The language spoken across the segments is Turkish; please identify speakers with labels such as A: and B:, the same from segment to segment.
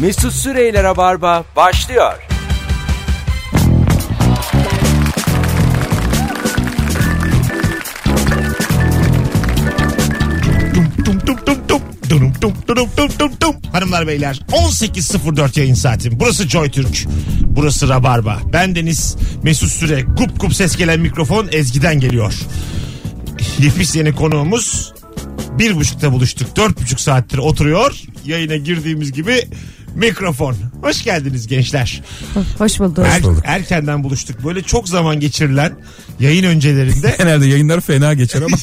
A: Mesut Süreyler'e barba başlıyor.
B: Dum dum dum dum dum. Dum dum dum dum dum dum. Hanımlar beyler 18.04 yayın saatim. Burası Joy Türk. Burası Rabarba. Ben Deniz Mesut Süre. Gup gup ses gelen mikrofon Ezgi'den geliyor. Nefis yeni konuğumuz bir buçukta buluştuk. Dört buçuk saattir oturuyor. Yayına girdiğimiz gibi mikrofon. Hoş geldiniz gençler.
C: Hoş bulduk.
B: Er- erkenden buluştuk. Böyle çok zaman geçirilen yayın öncelerinde
D: Genelde yayınlar fena geçer ama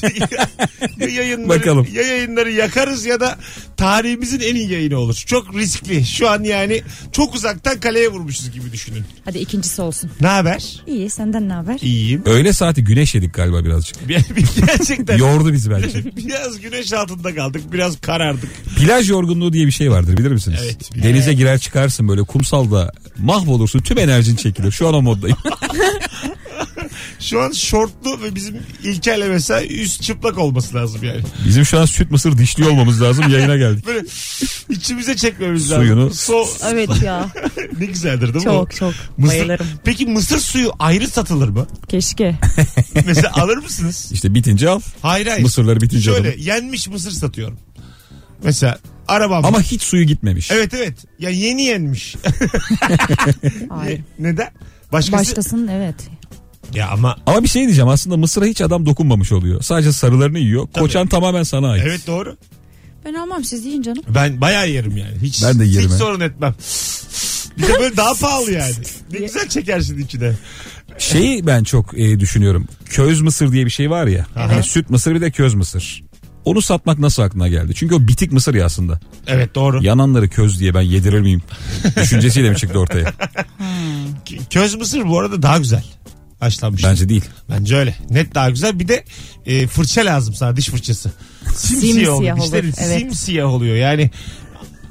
B: ya yayınları,
D: Bakalım.
B: ya yayınları yakarız ya da tarihimizin en iyi yayını olur. Çok riskli. Şu an yani çok uzaktan kaleye vurmuşuz gibi düşünün.
C: Hadi ikincisi olsun.
B: Ne haber?
C: İyi senden ne haber?
B: İyiyim.
D: öğle saati güneş yedik galiba birazcık.
B: Bir- bir- Gerçekten
D: Yordu bizi bence.
B: biraz güneş altında kaldık. Biraz karardık.
D: Plaj yorgunluğu diye bir şey vardır bilir misiniz?
B: Evet, biliyorum.
D: Denize girer çıkarsın böyle kumsalda mahvolursun tüm enerjin çekilir. Şu an o moddayım.
B: Şu an şortlu ve bizim İlker'le mesela üst çıplak olması lazım yani.
D: Bizim şu an süt mısır dişli olmamız lazım yayına geldik.
B: Böyle içimize çekmemiz
D: Suyunu.
B: lazım. So
C: Evet ya.
B: ne güzeldir değil mi?
C: Çok çok.
B: Mısır-
C: Bayılırım.
B: Peki mısır suyu ayrı satılır mı?
C: Keşke.
B: Mesela alır mısınız?
D: İşte bitince al
B: Hayır hayır.
D: mısırları bitince
B: Şöyle
D: alalım.
B: yenmiş mısır satıyorum. Mesela arabam.
D: Ama hiç suyu gitmemiş.
B: Evet evet. Ya yeni yenmiş.
C: Hayır.
B: Neden? Başkası.
C: Başkasının evet.
B: Ya ama
D: Ama bir şey diyeceğim aslında mısıra hiç adam dokunmamış oluyor. Sadece sarılarını yiyor. Koçan tamamen sana ait.
B: evet doğru.
C: Ben almam siz yiyin canım.
B: Ben bayağı yerim yani. Hiç,
D: Ben de yerim,
B: Hiç
D: he.
B: sorun etmem. Bir de böyle daha pahalı yani. Ne güzel çekersin içine.
D: Şeyi ben çok e, düşünüyorum. Köz mısır diye bir şey var ya. Hani süt mısır bir de köz mısır. Onu satmak nasıl aklına geldi? Çünkü o bitik mısır ya aslında.
B: Evet doğru.
D: Yananları köz diye ben yedirir miyim? Düşüncesiyle mi çıktı ortaya?
B: K- Köz mısır bu arada daha güzel. Haşlanmış. Bence,
D: Bence değil.
B: öyle. Net daha güzel. Bir de e, fırça lazım sana diş fırçası. Simsiyah
C: Simsiyah
B: oluyor.
C: olur,
B: Dişlerin
C: evet.
B: simsiyah oluyor. Yani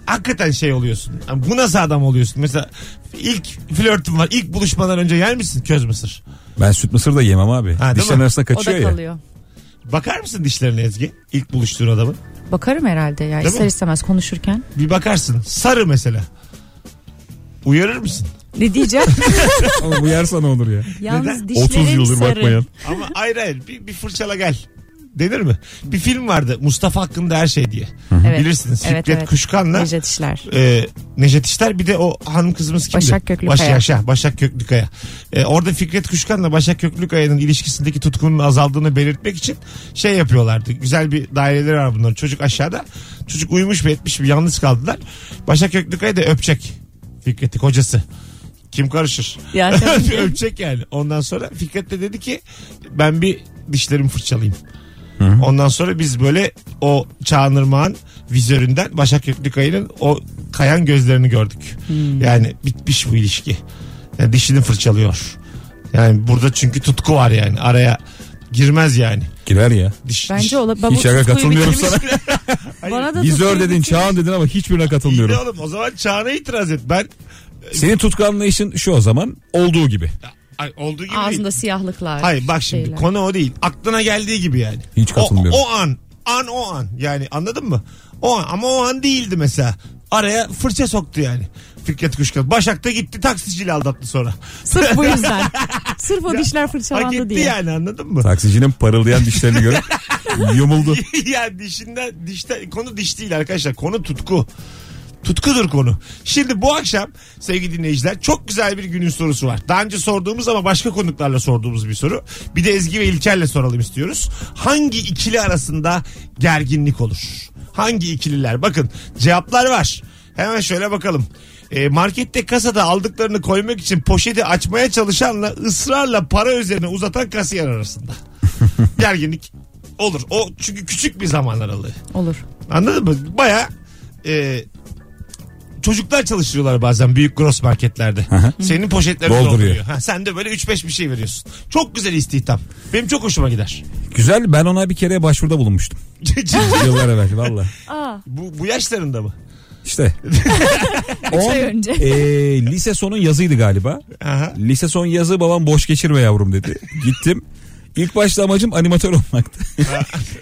B: hakikaten şey oluyorsun. Yani Bu nasıl adam oluyorsun? Mesela ilk flörtün var. İlk buluşmadan önce yer misin köz mısır?
D: Ben süt mısır da yemem abi.
B: Ha, değil
D: Dişlerin
B: mi?
D: arasında
C: O da
D: kaçıyor ya.
C: kalıyor.
B: Bakar mısın dişlerine Ezgi? İlk buluştuğun adamın.
C: Bakarım herhalde ya
B: Değil
C: ister
B: mi?
C: istemez konuşurken.
B: Bir bakarsın. Sarı mesela. Uyarır mısın?
C: Ne diyeceğim?
D: Ama bu yer sana olur ya.
C: Yalnız
B: Neden?
C: dişlerim
D: 30 yıldır
C: sarı.
D: bakmayan.
B: Ama hayır hayır bir, bir fırçala gel. Denir mi? Bir film vardı Mustafa hakkında her şey diye.
C: Evet.
B: Bilirsiniz.
C: Evet,
B: Fikret
C: evet.
B: Kuşkan'la
C: Necdet İşler.
B: e, Necdet İşler bir de o hanım kızımız kimdi?
C: Başak Köklükaya.
B: Baş, yaşa, Başak Köklükaya. E, orada Fikret Kuşkan'la Başak Köklükaya'nın ilişkisindeki tutkunun azaldığını belirtmek için şey yapıyorlardı. Güzel bir daireleri var bunların. Çocuk aşağıda. Çocuk uyumuş mu etmiş mi yalnız kaldılar. Başak Köklükaya da öpecek. Fikret'i kocası. Kim karışır?
C: Ya tabii ki.
B: öpecek yani. Ondan sonra Fikret de dedi ki ben bir dişlerimi fırçalayayım. Ondan sonra biz böyle o Çağınırmağ'ın vizöründen Başak Köklükaya'nın o kayan gözlerini gördük. Yani bitmiş bu ilişki. Yani dişini fırçalıyor. Yani burada çünkü tutku var yani. Araya girmez yani.
D: Girer ya.
B: Diş, diş-
C: Bence ola
D: Hiç yaka katılmıyorum sana.
B: Hayır,
C: Bana da
D: Vizör
C: tutkuyu
D: dedin,
C: bitirmiş.
D: çağan dedin ama hiçbirine
B: iyi de
D: katılmıyorum.
B: oğlum o zaman Çağan'a itiraz et. Ben
D: Senin tutku anlayışın şu o zaman olduğu gibi.
B: Ay, olduğu gibi değil.
C: Ağzında siyahlıklar.
B: Hayır bak şimdi
C: şeyler.
B: konu o değil. Aklına geldiği gibi yani.
D: Hiç katılmıyorum.
B: O, o an. An o an. Yani anladın mı? O an. Ama o an değildi mesela. Araya fırça soktu yani. Fikret Kuşkan. Başak da gitti taksiciyle aldattı sonra.
C: Sırf bu yüzden. Sırf o dişler
B: Hak etti
C: fırçalandı diye.
B: yani anladın mı?
D: Taksicinin parıldayan dişlerini görüp yumuldu.
B: ya dişinden dişte konu diş değil arkadaşlar. Konu tutku. Tutkudur konu. Şimdi bu akşam sevgili dinleyiciler çok güzel bir günün sorusu var. Daha önce sorduğumuz ama başka konuklarla sorduğumuz bir soru. Bir de Ezgi ve İlker'le soralım istiyoruz. Hangi ikili arasında gerginlik olur? Hangi ikililer? Bakın cevaplar var. Hemen şöyle bakalım. E, markette kasada aldıklarını koymak için poşeti açmaya çalışanla ısrarla para üzerine uzatan kasiyer arasında. gerginlik olur. O çünkü küçük bir zaman aralığı.
C: Olur.
B: Anladın mı? Baya e, çocuklar çalıştırıyorlar bazen büyük gross marketlerde. Senin poşetlerini dolduruyor.
D: Dolduruyor.
B: Ha, sen de böyle 3-5 bir şey veriyorsun. Çok güzel istihdam. Benim çok hoşuma gider.
D: Güzel ben ona bir kere başvuruda bulunmuştum. Yıllar evvel valla.
C: Aa,
B: bu, bu yaşlarında mı?
D: İşte. On,
C: ay önce.
D: e, lise sonun yazıydı galiba.
B: Aha.
D: Lise son yazı babam boş geçirme yavrum dedi. Gittim. İlk başta amacım animatör olmaktı.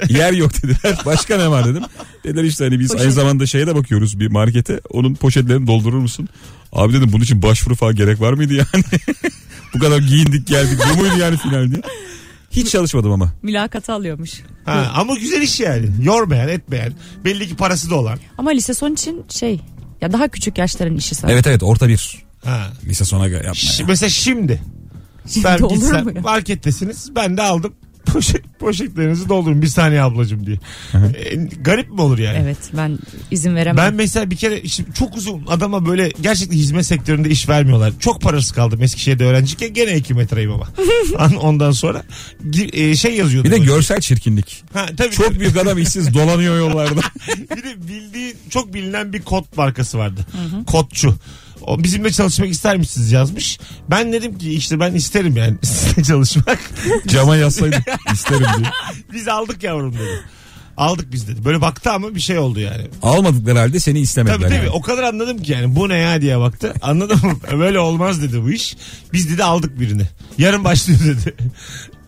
D: Yer yok dediler. Başka ne var dedim. Dediler işte hani biz
C: Poşet.
D: aynı zamanda şeye de bakıyoruz bir markete. Onun poşetlerini doldurur musun? Abi dedim bunun için başvuru falan gerek var mıydı yani? Bu kadar giyindik geldik. Bu muydu yani final diye. Hiç çalışmadım ama.
C: Mülakata alıyormuş.
B: Ha, ama güzel iş yani. Yormayan etmeyen. Belli ki parası da olan.
C: Ama lise son için şey ya daha küçük yaşların işi sanırım.
D: Evet evet orta bir.
B: Ha.
D: Lise sona göre yapma
B: Ş-
D: ya.
B: mesela şimdi.
C: Şimdi
B: Ben
C: olur mu
B: gitsem
C: ya?
B: markettesiniz. Ben de aldım. Poşet, poşetlerinizi doldurun bir saniye ablacığım diye. E, garip mi olur yani?
C: Evet ben izin veremem.
B: Ben mesela bir kere şimdi çok uzun adama böyle gerçekten hizmet sektöründe iş vermiyorlar. Çok parasız kaldım Eskişehir'de öğrenciyken gene 2 metreyim ama. An- Ondan sonra gi- e, şey yazıyordu.
D: Bir de
B: böyle.
D: görsel çirkinlik.
B: ha, tabii,
D: Çok
B: tabii.
D: büyük adam işsiz dolanıyor yollarda.
B: bir de bildiği çok bilinen bir kot markası vardı. Kotçu. O bizimle çalışmak ister misiniz yazmış. Ben dedim ki işte ben isterim yani sizinle çalışmak.
D: Cama yazsaydım isterim diye.
B: biz aldık yavrum dedi. Aldık biz dedi. Böyle baktı ama bir şey oldu yani.
D: Almadıkları halde seni istemediler.
B: Tabii tabii
D: yani.
B: o kadar anladım ki yani bu ne ya diye baktı. Anladın mı? Böyle olmaz dedi bu iş. Biz dedi aldık birini. Yarın başlıyor dedi.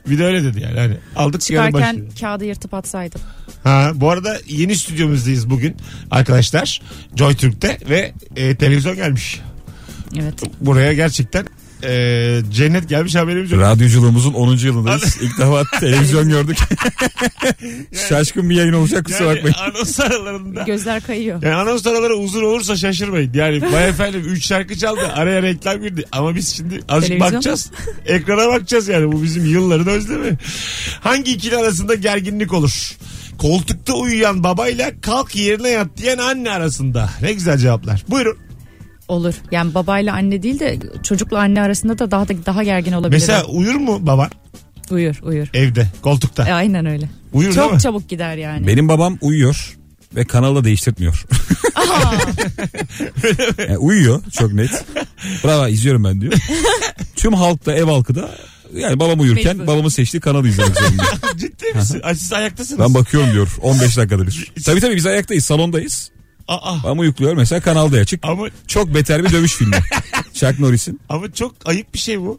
B: Bir de öyle dedi yani. Hani aldık yarın başlıyor.
C: Çıkarken kağıdı yırtıp atsaydım.
B: Ha, bu arada yeni stüdyomuzdayız bugün arkadaşlar. Joy Türk'te ve e, televizyon gelmiş.
C: Evet.
B: Buraya gerçekten e, cennet gelmiş haberimiz yok.
D: Radyoculuğumuzun 10. yılındayız. İlk defa televizyon gördük. Şaşkın bir yayın olacak kusura
B: Yani
D: bakmayın.
B: anons aralarında.
C: Gözler kayıyor.
B: Yani anons araları uzun olursa şaşırmayın. Yani vay efendim 3 şarkı çaldı araya reklam girdi. Ama biz şimdi azıcık
C: Televizyon.
B: bakacağız. Ekrana bakacağız yani bu bizim yılların özlemi. Hangi ikili arasında gerginlik olur? Koltukta uyuyan babayla kalk yerine yat diyen anne arasında. Ne güzel cevaplar. Buyurun.
C: Olur. Yani babayla anne değil de çocukla anne arasında da daha da daha gergin olabilir.
B: Mesela uyur mu baba
C: uyur uyur.
B: evde koltukta?
C: E, aynen öyle.
B: Uyur değil mi?
C: Çok çabuk gider yani.
D: Benim babam uyuyor ve kanalda değiştirtmiyor. Yani uyuyor çok net. Bravo izliyorum ben diyor. Tüm halkta ev halkı da yani babam uyurken
C: Mecbur.
D: babamın seçtiği kanalı izlemek zorunda.
B: Ciddi misin? Ay, Siz ayaktasınız.
D: ben bakıyorum diyor 15 dakikada bir. Tabii tabii biz ayaktayız salondayız.
B: Aa,
D: Babam uyukluyor mesela kanalda açık.
B: ama,
D: Çok beter bir dövüş filmi. Chuck Norris'in.
B: ama çok ayıp bir şey bu.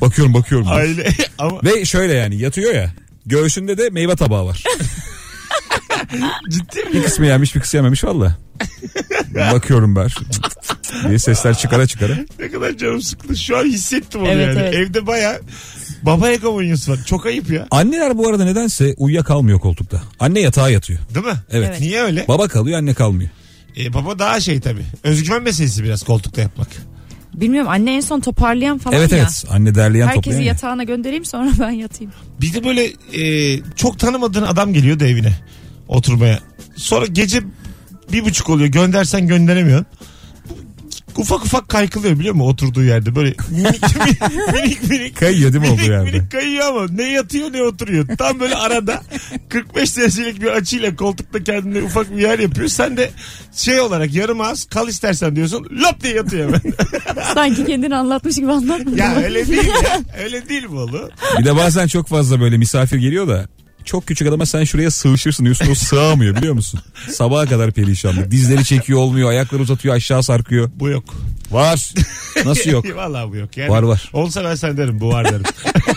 D: Bakıyorum bakıyorum. diyor.
B: Aile ama
D: Ve şöyle yani yatıyor ya. Göğsünde de meyve tabağı var.
B: ciddi mi?
D: Bir kısmı yemiş bir kısmı yememiş valla. Bakıyorum ben. diye sesler çıkara çıkara.
B: Ne kadar canım sıkıldı. Şu an hissettim onu
C: Evet,
B: yani.
C: evet.
B: Evde baya baba ekomonyası var. Çok ayıp ya.
D: Anneler bu arada nedense uyuyakalmıyor koltukta. Anne yatağa yatıyor.
B: Değil mi?
D: Evet.
C: Evet.
B: Niye öyle?
D: Baba kalıyor anne kalmıyor.
B: E, baba daha şey tabii. Özgüven meselesi biraz koltukta yapmak.
C: Bilmiyorum anne en son toparlayan falan
D: evet
C: ya.
D: evet anne derleyen
C: Herkesi
D: toplayan. ya.
C: yatağına göndereyim sonra ben yatayım.
B: Bir de böyle e, çok tanımadığın adam geliyor da evine oturmaya. Sonra gece bir buçuk oluyor göndersen gönderemiyorsun. Ufak ufak kaykılıyor biliyor musun oturduğu yerde böyle minik minik minik.
D: Kayıyor değil mi
B: minik,
D: olduğu yerde?
B: minik kayıyor ama ne yatıyor ne oturuyor. Tam böyle arada 45 derecelik bir açıyla koltukta kendine ufak bir yer yapıyor. Sen de şey olarak yarım ağız kal istersen diyorsun lop diye yatıyor hemen.
C: Sanki kendini anlatmış gibi anlatmıyor.
B: ya öyle değil ya. Öyle değil bu oğlum.
D: Bir de bazen çok fazla böyle misafir geliyor da çok küçük adama sen şuraya sığışırsın diyorsun o sığamıyor biliyor musun? Sabaha kadar perişanlık. Dizleri çekiyor olmuyor ayakları uzatıyor aşağı sarkıyor.
B: Bu yok.
D: Var. Nasıl yok?
B: Vallahi bu yok. Yani
D: Var, var.
B: Olsa ben sen derim bu var derim.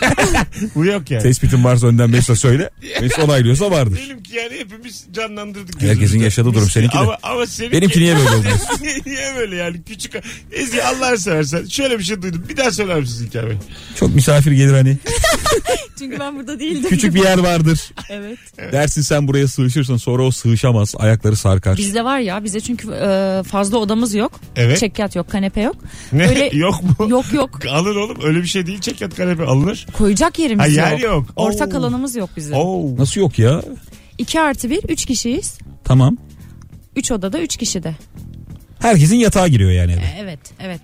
B: bu yok yani.
D: Tespitin varsa önden Mesut'a söyle. Mesut onaylıyorsa vardır.
B: Diyelim ki yani hepimiz canlandırdık.
D: Herkesin
B: gözümüzde.
D: yaşadığı durum,
B: Biz-
D: seninki de.
B: Ama, ama seninki...
D: Benimki niye böyle oldu?
B: niye böyle yani küçük Ezgi Allah'ını seversen şöyle bir şey duydum bir daha söyler misin İlker Bey?
D: Çok misafir gelir hani.
C: Çünkü ben burada değildim.
D: Küçük bir yer vardır.
C: Evet.
D: Dersin sen buraya sığışırsın sonra o sığışamaz. Ayakları sarkar.
C: Bizde var ya bize çünkü e, fazla odamız yok.
B: Evet.
C: Çekyat yok kanepe yok.
B: Ne
C: Öyle-
B: yok mu?
C: Yok yok
B: Alın oğlum öyle bir şey değil çek yat kanepe alınır.
C: koyacak yerimiz
B: Ha, yer
C: yok.
B: yok.
C: Ortak
B: Oo.
C: alanımız yok bizim.
B: Oo.
D: Nasıl yok ya?
C: 2 artı 1 3 kişiyiz.
D: Tamam.
C: 3 odada 3 kişi de.
D: Herkesin yatağa giriyor yani eve.
C: Evet evet.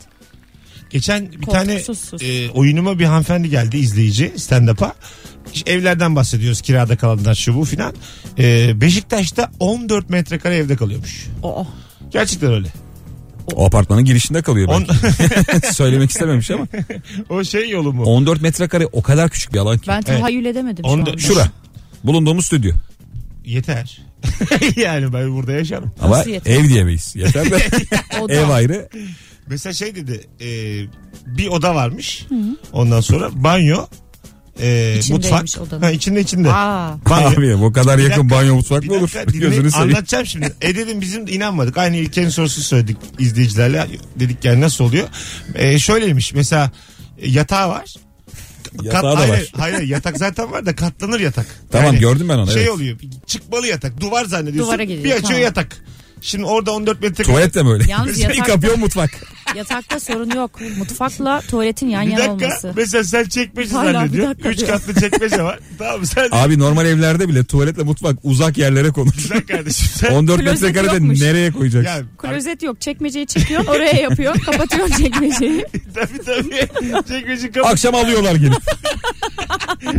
B: Geçen bir tane
C: Korkusuzsuz.
B: e, oyunuma bir hanımefendi geldi izleyici stand-up'a. İşte Evlerden bahsediyoruz kirada kalanlar şu bu filan. E, Beşiktaş'ta 14 metrekare evde kalıyormuş.
C: Oo.
B: Gerçekten öyle.
D: O apartmanın girişinde kalıyor
B: On-
D: belki. Söylemek istememiş ama.
B: O şey yolu mu?
D: 14 metrekare o kadar küçük bir alan ki.
C: Ben tahayyül edemedim şu
B: Onda-
C: anda.
D: Şura. Bulunduğumuz stüdyo.
B: Yeter. yani ben burada yaşarım.
D: Ama
C: Nasıl yeter?
D: ev diyemeyiz. Yeter de
C: Oda.
D: ev ayrı.
B: Mesela şey dedi e, bir oda varmış. Ondan sonra banyo e,
C: İçindeymiş
B: mutfak.
C: odanın.
B: Ha, içinde içinde.
C: Aa.
B: Banyo.
D: Abi o kadar
B: Bir
D: yakın
B: dakika,
D: banyo mutfak
B: bir
D: mı olur?
B: dakika, dinle-
D: Gözünü seveyim.
B: Anlatacağım şimdi. E dedim bizim de inanmadık. Aynı İlker'in sorusunu söyledik izleyicilerle. Dedik yani nasıl oluyor? E, şöyleymiş mesela e, yatağı var.
D: Yatağı da
B: hayır,
D: var.
B: Hayır yatak zaten var da katlanır yatak.
D: Tamam,
B: Yani
D: gördüm ben onu,
B: Şey
D: evet.
B: oluyor çıkmalı yatak duvar zannediyorsun.
C: Duvara geliyor,
B: bir açıyor
C: tamam.
B: yatak. Şimdi orada 14 metre.
D: Tuvalet de böyle.
C: Yalnız
D: Şey
C: yatakta-
D: kapıyor mutfak.
C: Yatakta sorun yok. Mutfakla tuvaletin yan
B: Bir
C: yana
B: dakika
C: olması.
B: mesela sen çekmece
C: Hala bir
B: zannediyorsun.
C: dakika
B: Üç
C: diyor.
B: katlı çekmece var. tamam sen
D: Abi normal evlerde bile tuvaletle mutfak uzak yerlere konur.
B: güzel kardeşim sen.
D: 14
C: Klozet
D: metrekarede
C: yokmuş.
D: nereye koyacaksın?
B: Ya,
C: Klozet yok. Çekmeceyi çekiyorsun oraya yapıyorsun. Kapatıyorsun çekmeceyi.
B: tabii tabii. Çekmece kapı
D: Akşam alıyorlar gelip.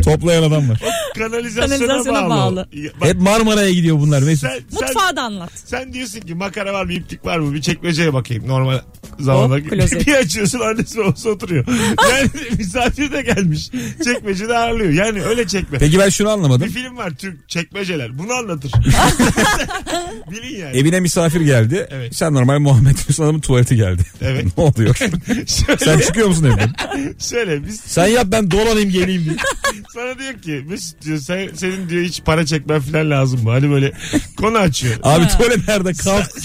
D: Toplayan adam var.
B: kanalizasyona,
C: Kanalizasyona
B: bağlı.
C: bağlı.
B: Ya, bak,
D: Hep Marmara'ya gidiyor bunlar Mesut.
B: sen, sen,
C: Mutfağı da anlat.
B: sen diyorsun ki makara var mı iplik var mı bir çekmeceye bakayım normal
C: Hop,
B: zamanda.
C: klozet.
B: bir açıyorsun annesi babası oturuyor. Yani misafir de gelmiş. Çekmece de ağırlıyor. Yani öyle çekme.
D: Peki ben şunu
B: Bir
D: anlamadım.
B: film var Türk çekmeceler. Bunu anlatır. Bilin yani.
D: Evine misafir geldi.
B: Evet.
D: Sen normal Muhammed Hüsnü adamın tuvaleti geldi.
B: Evet.
D: ne oluyor? Sen
B: şöyle,
D: çıkıyor musun evden?
B: şöyle biz
D: Sen yap ben dolanayım geleyim diye.
B: Sana diyor ki Mesut diyor sen, senin diyor hiç para çekmen falan lazım mı? Hani böyle konu açıyor.
D: Abi tuvalet nerede? Kalk.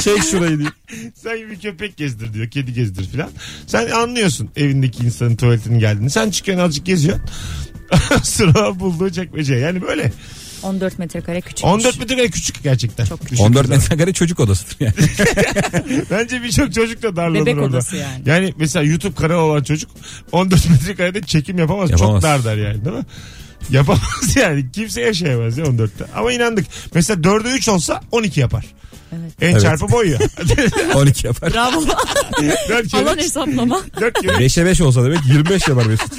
D: Çek şurayı diye.
B: sen bir köpek gezdir diyor. Kedi gezdir falan. Sen anlıyorsun evindeki insanın tuvaletinin geldiğini. Sen çıkıyorsun azıcık geziyorsun. Sıra bulduğu çekmece. Yani böyle.
C: 14 metrekare küçük.
B: 14 metrekare küçük gerçekten.
C: Çok
B: Düşündüğün
D: 14
B: zaman.
D: metrekare çocuk odasıdır yani.
B: Bence birçok çocuk da darlanır
C: Bebek
B: orada.
C: odası yani.
B: Yani mesela YouTube kanalı olan çocuk 14 metrekarede çekim yapamaz. Çok
D: Yapamaz.
B: dar der yani değil mi? Yapamaz yani. Kimse yaşayamaz ya 14'te. Ama inandık. Mesela 4'e 3 olsa 12 yapar.
C: Evet.
B: En
D: Evet.
B: çarpı boyu ya.
D: 12 yapar.
C: Bravo.
B: 4
C: Alan
B: kere.
C: hesaplama.
B: 4 kere.
D: 5'e 5 olsa demek 25 yapar Mesut.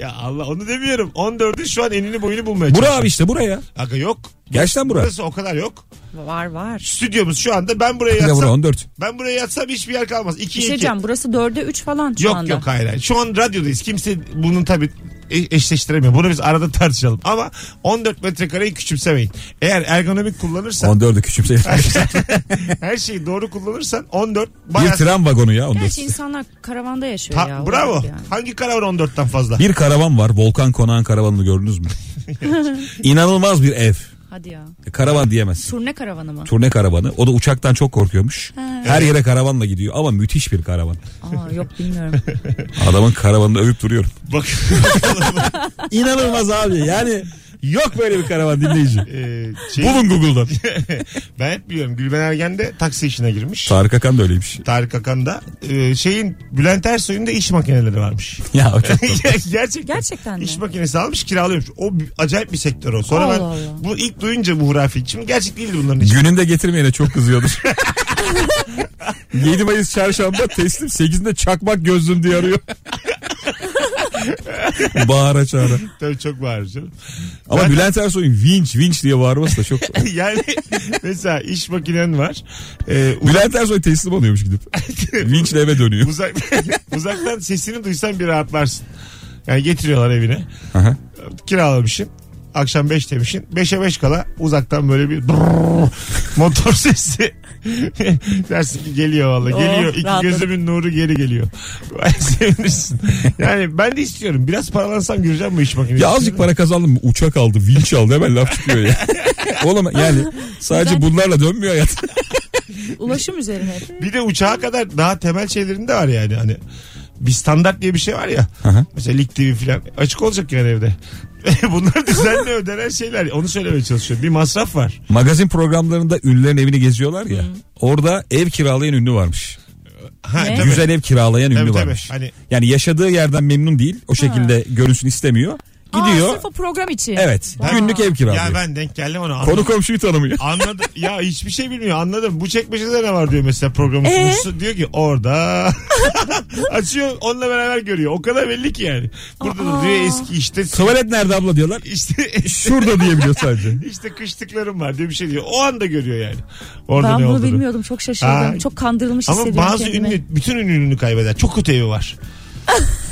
B: Ya Allah onu demiyorum. 14'ün şu an enini boyunu bulmaya
D: Bura
B: çalışıyor.
D: abi işte buraya.
B: Aga yok.
D: Gerçekten bura.
B: Burası o kadar yok.
C: Var var.
B: Stüdyomuz şu anda ben buraya
D: Bir de bura
B: yatsam.
D: 14.
B: Ben buraya yatsam hiçbir yer kalmaz. 2
C: Bir şey
B: 2.
C: diyeceğim burası 4'e 3 falan şu
B: Yok
C: anda.
B: yok hayır. hayır. Şu an radyodayız. Kimse bunun tabii e- eşleştiremiyor. Bunu biz arada tartışalım. Ama 14 metrekareyi küçümsemeyin. Eğer ergonomik kullanırsan
D: 14'ü küçümseyin.
B: her şeyi doğru kullanırsan 14
D: Bir
B: bayağı...
D: tren vagonu ya
C: Gerçi
D: 14.
C: insanlar karavanda yaşıyor
B: Ta-
C: ya.
B: bravo.
C: olabilir yani.
B: Hangi karavan 14'ten fazla?
D: Bir karavan var. Volkan Konağın karavanını gördünüz mü? İnanılmaz bir ev.
C: Hadi ya.
D: E, Karavan diyemezsin.
C: Turne karavanı mı?
D: Turne karavanı. O da uçaktan çok korkuyormuş. Her yere karavanla gidiyor ama müthiş bir karavan.
C: Aa yok bilmiyorum.
D: Adamın karavanını övüp duruyorum.
B: Bak.
D: İnanılmaz abi. Yani yok böyle bir karavan dinleyici.
B: Ee, şey-
D: Bulun Google'dan.
B: ben hep biliyorum. Gülben Ergen de taksi işine girmiş.
D: Tarık Akan da öyleymiş.
B: Tarık Akan da e, şeyin Bülent Ersoy'un da iş makineleri varmış.
D: Ya o çok tatlı.
B: Gerçekten.
C: Gerçekten mi?
B: İş makinesi almış kiralıyormuş. O bir- acayip bir sektör o. Sonra
C: Allah
B: ben
C: Allah.
B: bu ilk duyunca bu hurafi. Şimdi gerçek değildi bunların hiçbiri.
D: Gününde getirmeyene çok kızıyordur. 7 Mayıs çarşamba teslim 8'inde çakmak gözlüm diye arıyor. Bağıra çağıra.
B: Tabii çok bağırır canım.
D: Ama
B: Ben-
D: Bülent Ersoy'un vinç vinç diye bağırması da çok.
B: yani mesela iş makinen var. Ee, uz-
D: Bülent Ersoy teslim oluyormuş gidip. Vinçle eve dönüyor.
B: uzak, uzaktan sesini duysan bir rahatlarsın. Yani getiriyorlar evine.
D: Aha.
B: Kiralamışsın. Akşam 5 demişsin. 5'e 5 kala uzaktan böyle bir drrrr motor sesi. Dersin ki geliyor valla
C: Oh,
B: geliyor. İki
C: rahatladım.
B: gözümün nuru geri geliyor. Sevinirsin. Yani ben de istiyorum. Biraz paralansam gireceğim bu iş makinesi.
D: Ya azıcık para kazandım mı? Uçak aldı, vinç aldı hemen laf çıkıyor ya. Oğlum yani sadece bunlarla dönmüyor hayat.
C: Ulaşım üzerine.
B: Bir de uçağa kadar daha temel şeylerinde var yani hani. Bir standart diye bir şey var ya.
D: hı.
B: Mesela Lig TV falan açık olacak yani evde. Bunlar düzenli ödenen şeyler. Onu söylemeye çalışıyorum. Bir masraf var.
D: Magazin programlarında ünlülerin evini geziyorlar ya. Orada ev kiralayan ünlü varmış.
B: Ha,
C: Ne?
B: tabii.
D: Güzel ev kiralayan
B: Tabii,
D: ünlü
B: tabii.
D: varmış.
B: Hani-
D: Yani yaşadığı yerden memnun değil. O şekilde görünsün istemiyor.
C: Aa,
D: Gidiyor.
C: sırf o program için.
D: Evet.
C: Aa.
D: Günlük ev kiralıyor.
B: Ya ben denk geldim ona. Anladım.
D: Konu komşuyu tanımıyor.
B: Anladım. Ya hiçbir şey bilmiyor. Anladım. Bu çekmecede ne var diyor mesela programın
C: Ee?
B: sunucusu. Diyor ki orada. Açıyor onunla beraber görüyor. O kadar belli ki yani. Burada da
C: Aa.
B: diyor eski işte
D: Tuvalet nerede abla diyorlar.
B: işte
D: Şurada diyebiliyor sadece.
B: işte kışlıklarım var diye bir şey diyor. O anda görüyor yani. Orada
C: Ben
B: ne
C: bunu
B: olduğunu.
C: bilmiyordum. Çok şaşırdım.
B: Aa.
C: Çok kandırılmış
B: Ama
C: hissediyorum
B: bazı
C: kendimi.
B: ünlü bütün ünlünü kaybeder. Çok kötü evi var.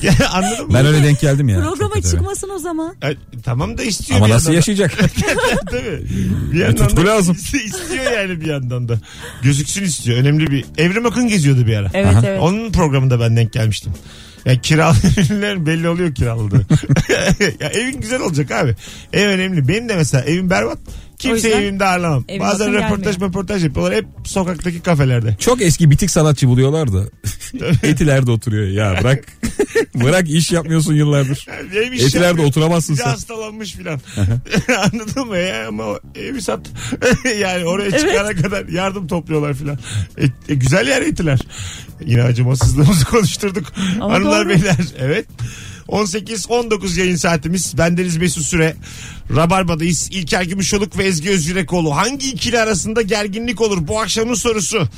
B: Yani anladın mı?
D: Ben öyle denk geldim ya. Çok
C: Programa
D: kötü.
C: çıkmasın o zaman.
B: E, tamam da istiyor
D: Ama
B: bir
D: nasıl
B: yandan
D: yaşayacak?
B: da. Tabii. Bir yandan
D: tutku
B: da
D: lazım.
B: is- istiyor yani bir yandan da. Gözüksün istiyor. Önemli bir. Evrim Akın geziyordu bir ara.
C: Evet evet.
B: Onun programında ben denk gelmiştim. Ya kiralı ürünler belli oluyor kiraladığı. ya evin güzel olacak abi. Ev önemli. Benim de mesela evim berbat. Kimseyi
C: yüzden
B: evimde ağırlamam.
C: evin
B: Bazen
C: bakın
B: röportaj
C: gelmiyor.
B: röportaj yapıyorlar. Hep sokaktaki kafelerde.
D: Çok eski bitik sanatçı buluyorlardı. Etilerde oturuyor ya bırak. bırak iş yapmıyorsun yıllardır.
B: Neymiş ya?
D: Etilerde oturamazsın
B: Bir
D: sen.
B: hastalanmış filan. Anladın mı ya? Ama o evi sat. yani oraya çıkana kadar yardım topluyorlar filan. E, e, güzel yer etiler. Yine acımasızlığımızı konuşturduk.
C: Ama
B: Hanımlar
C: doğru.
B: beyler. Evet. 18-19 yayın saatimiz. Bendeniz Mesut Süre. Rabarba'dayız. İlker Gümüşoluk ve Ezgi Özgürekoğlu. Hangi ikili arasında gerginlik olur? Bu akşamın sorusu.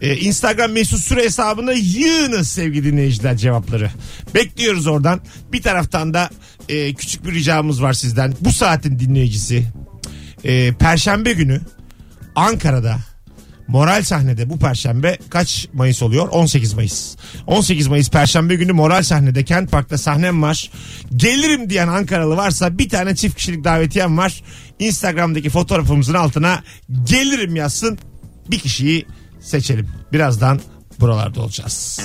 B: Ee, Instagram Mesut Süre hesabına yığınız sevgili dinleyiciler cevapları. Bekliyoruz oradan. Bir taraftan da e, küçük bir ricamız var sizden. Bu saatin dinleyicisi. e, Perşembe günü Ankara'da Moral sahnede bu perşembe kaç Mayıs oluyor? 18 Mayıs. 18 Mayıs perşembe günü moral sahnede Kent Park'ta sahnem var. Gelirim diyen Ankaralı varsa bir tane çift kişilik davetiyem var. Instagram'daki fotoğrafımızın altına gelirim yazsın. Bir kişiyi seçelim. Birazdan buralarda olacağız.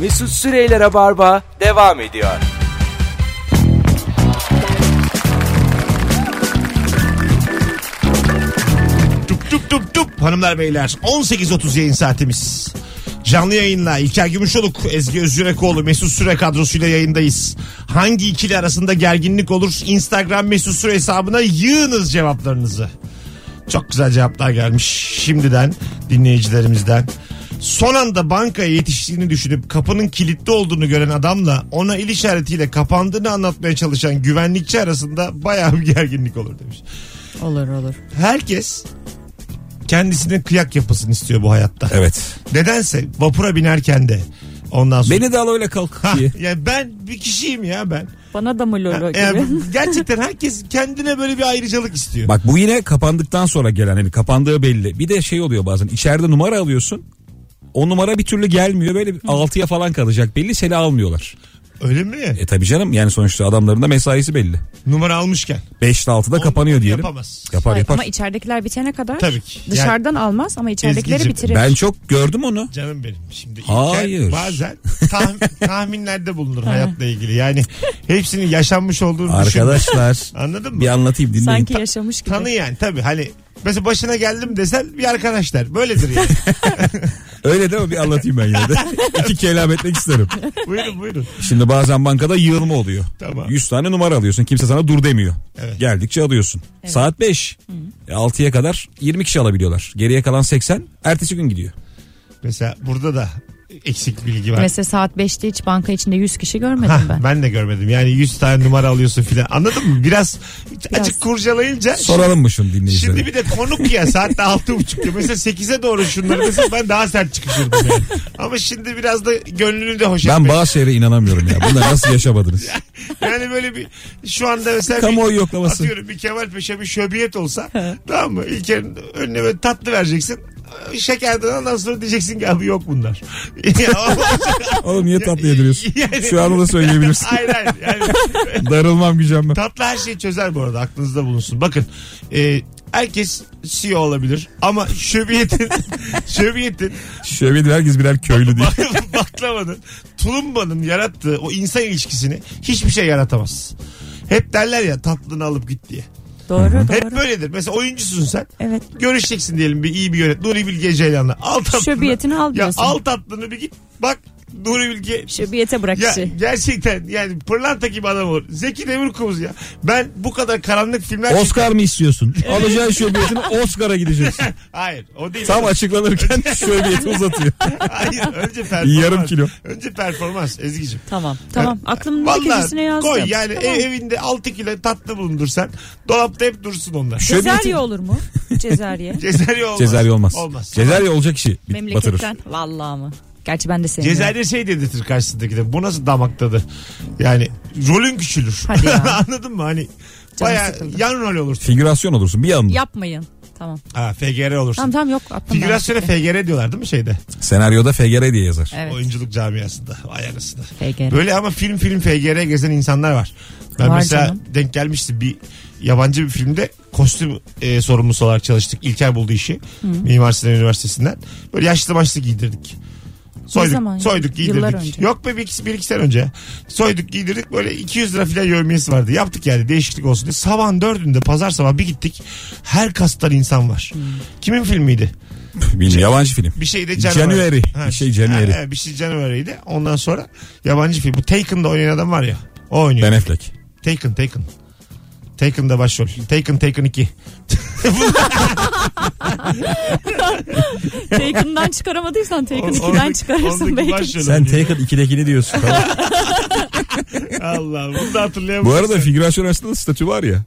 A: Mesut Süreyler'e barba devam ediyor.
B: Tup tup tup tup hanımlar beyler 18.30 yayın saatimiz. Canlı yayınla İlker Gümüşoluk, Ezgi Özgürekoğlu, Mesut Süre kadrosuyla yayındayız. Hangi ikili arasında gerginlik olur? Instagram Mesut Süre hesabına yığınız cevaplarınızı. Çok güzel cevaplar gelmiş şimdiden dinleyicilerimizden. Son anda bankaya yetiştiğini düşünüp kapının kilitli olduğunu gören adamla ona il işaretiyle kapandığını anlatmaya çalışan güvenlikçi arasında bayağı bir gerginlik olur demiş
C: Olur olur.
B: herkes kendisine kıyak yapasın istiyor bu hayatta.
D: Evet.
B: Nedense vapura binerken de ondan sonra.
D: Beni de al öyle kalk
B: Ha,
D: diye.
B: ya ben bir kişiyim ya ben.
C: Bana da mı lolo
B: Ya
C: gibi?
B: gerçekten herkes kendine böyle bir ayrıcalık istiyor.
D: Bak bu yine kapandıktan sonra gelen hani kapandığı belli. Bir de şey oluyor bazen içeride numara alıyorsun. O numara bir türlü gelmiyor böyle 6'ya falan kalacak belli seni almıyorlar.
B: Öyle mi?
D: E tabi canım yani sonuçta adamların da mesaisi belli.
B: Numara almışken.
D: 5'te 6'da kapanıyor
B: Onu
D: diyelim.
B: Yapamaz.
D: Yapar yapar.
C: Ama içeridekiler bitene kadar
B: Tabii ki.
C: dışarıdan almaz ama içeridekileri
B: Ezgi'cim,
C: bitirir.
D: Ben çok gördüm onu.
B: Canım benim şimdi. İlker
D: Hayır.
B: Bazen tah- tahminlerde bulunur hayatla ilgili. Yani hepsinin yaşanmış olduğunu düşün.
D: Arkadaşlar
B: Anladın mı?
D: bir anlatayım dinleyin.
C: Sanki yaşamış gibi.
B: Tanı yani tabii hani mesela başına geldim desen bir arkadaşlar böyledir yani.
D: Öyle deme bir anlatayım ben yine de. İki kelam etmek isterim.
B: buyurun buyurun.
D: Şimdi bazen bankada yığılma oluyor.
B: Tamam.
D: 100 tane numara alıyorsun. Kimse sana dur demiyor.
B: Evet.
D: Geldikçe alıyorsun. Saat 5. 6'ya kadar 20 kişi alabiliyorlar. Geriye kalan 80. Ertesi gün gidiyor.
B: Mesela burada da eksik bilgi var.
C: Mesela saat 5'te hiç banka içinde 100 kişi görmedim
B: Hah,
C: ben.
B: ben. de görmedim. Yani 100 tane numara alıyorsun filan. Anladın mı? Biraz, acık kurcalayınca
D: Soralım mı şunu dinleyicilere?
B: Şimdi bir şey de konuk ya saatte altı buçukta. Mesela 8'e doğru şunları mesela ben daha sert çıkışırdım yani. Ama şimdi biraz da gönlünü de hoş
D: Ben
B: etmek.
D: bazı şeylere inanamıyorum ya. Bunları nasıl yaşamadınız?
B: Yani böyle bir şu anda mesela
D: Kamuoyu
B: bir,
D: yoklaması.
B: atıyorum bir Kemal Paşa bir şöbiyet olsa tamam mı? İlker'in önüne böyle tatlı vereceksin. Şekerden ondan sonra diyeceksin ki abi yok bunlar.
D: Oğlum niye tatlı yediriyorsun?
B: Yani-
D: Şu an da söyleyebilirsin.
B: hayır hayır. Yani
D: Darılmam gücenmem.
B: Tatlı her şeyi çözer bu arada aklınızda bulunsun. Bakın e, herkes CEO olabilir ama şöbiyetin şöbiyetin
D: Şöyle bir herkes birer köylü diye.
B: baklavanın tulumbanın yarattığı o insan ilişkisini hiçbir şey yaratamaz. Hep derler ya tatlını alıp git diye.
C: Doğru
B: Hep
C: doğru.
B: böyledir. Mesela oyuncusun sen.
C: Evet.
B: Görüşeceksin diyelim bir iyi bir yönet. Nuri Bilge Ceylan'la. Al tatlını.
C: Şöbiyetini al
B: Ya
C: diyorsun.
B: al tatlını bir git. Bak Nuri Bilge
C: Şöbiyete bırak
B: ya
C: işi.
B: gerçekten yani pırlanta gibi adam olur. Zeki Demirkubuz ya. Ben bu kadar karanlık filmler
D: Oscar mı istiyorsun? Alacağın şöbiyetini Oscar'a gideceksin.
B: Hayır o değil.
D: Tam açıklanırken şöbiyeti uzatıyor.
B: Hayır önce performans.
D: Yarım kilo.
B: Önce performans Ezgi'cim.
C: Tamam tamam. Aklımın bir
B: Vallahi
C: köşesine yazdım.
B: koy yani
C: Tamam.
B: ev- evinde 6 kilo tatlı bulundursan dolapta hep dursun onlar.
C: Cezerye olur mu? Cezerye.
B: Cezerye olmaz.
D: Cezerye olmaz.
B: Olmaz.
D: Cezerye olacak işi bit- batırır.
C: Memleketten. Vallahi mı? Gerçi ben de sevmiyorum.
B: Cezerye şey dedirtir karşısındaki de bu nasıl damak tadı? Yani rolün küçülür.
C: Hadi ya.
B: Anladın mı hani?
C: Canım
B: Baya
C: sıkıldı.
B: yan rol olursun.
D: Figürasyon olursun bir anda.
C: Yapmayın. Tamam.
B: Ha, FGR olursun.
C: Tamam tamam yok aklımda.
B: Figürasyona FGR diyorlar değil mi şeyde?
D: Senaryoda FGR diye yazar.
C: Evet.
B: Oyunculuk camiasında. Vay anasını.
C: FGR.
B: Böyle ama film film FGR gezen insanlar var. Ben
C: Var
B: mesela
C: canım.
B: denk gelmişti bir yabancı bir filmde kostüm e, sorumlusu olarak çalıştık. İlker buldu işi. Mimar Sinan Üniversitesi'nden. Böyle yaşlı başlı giydirdik. Soyduk,
C: zaman ya?
B: soyduk giydirdik.
C: Yıllar önce.
B: Yok be bir iki, bir iki sene önce. Soyduk giydirdik böyle 200 lira filan yövmiyesi vardı. Yaptık yani değişiklik olsun diye. Sabahın dördünde pazar sabahı bir gittik. Her kastan insan var. Kimin filmiydi?
D: Bilmiyorum, yabancı film.
B: Bir şey de
D: January. Bir şey January.
B: Ha, ha, bir şey January'di. Ondan sonra yabancı film. Bu Taken'da oynayan adam var ya. O oynuyor.
D: Ben Affleck.
B: Taken, Taken. Taken'da başrol. Taken, Taken 2.
C: Taken'dan çıkaramadıysan Taken 2'den çıkarırsın
B: Ondaki
C: belki.
B: başrolü.
E: Sen Taken 2'dekini diyorsun. Tamam.
B: Allah bunu da hatırlayamadım.
D: Bu arada figürasyon arasında da statü var ya.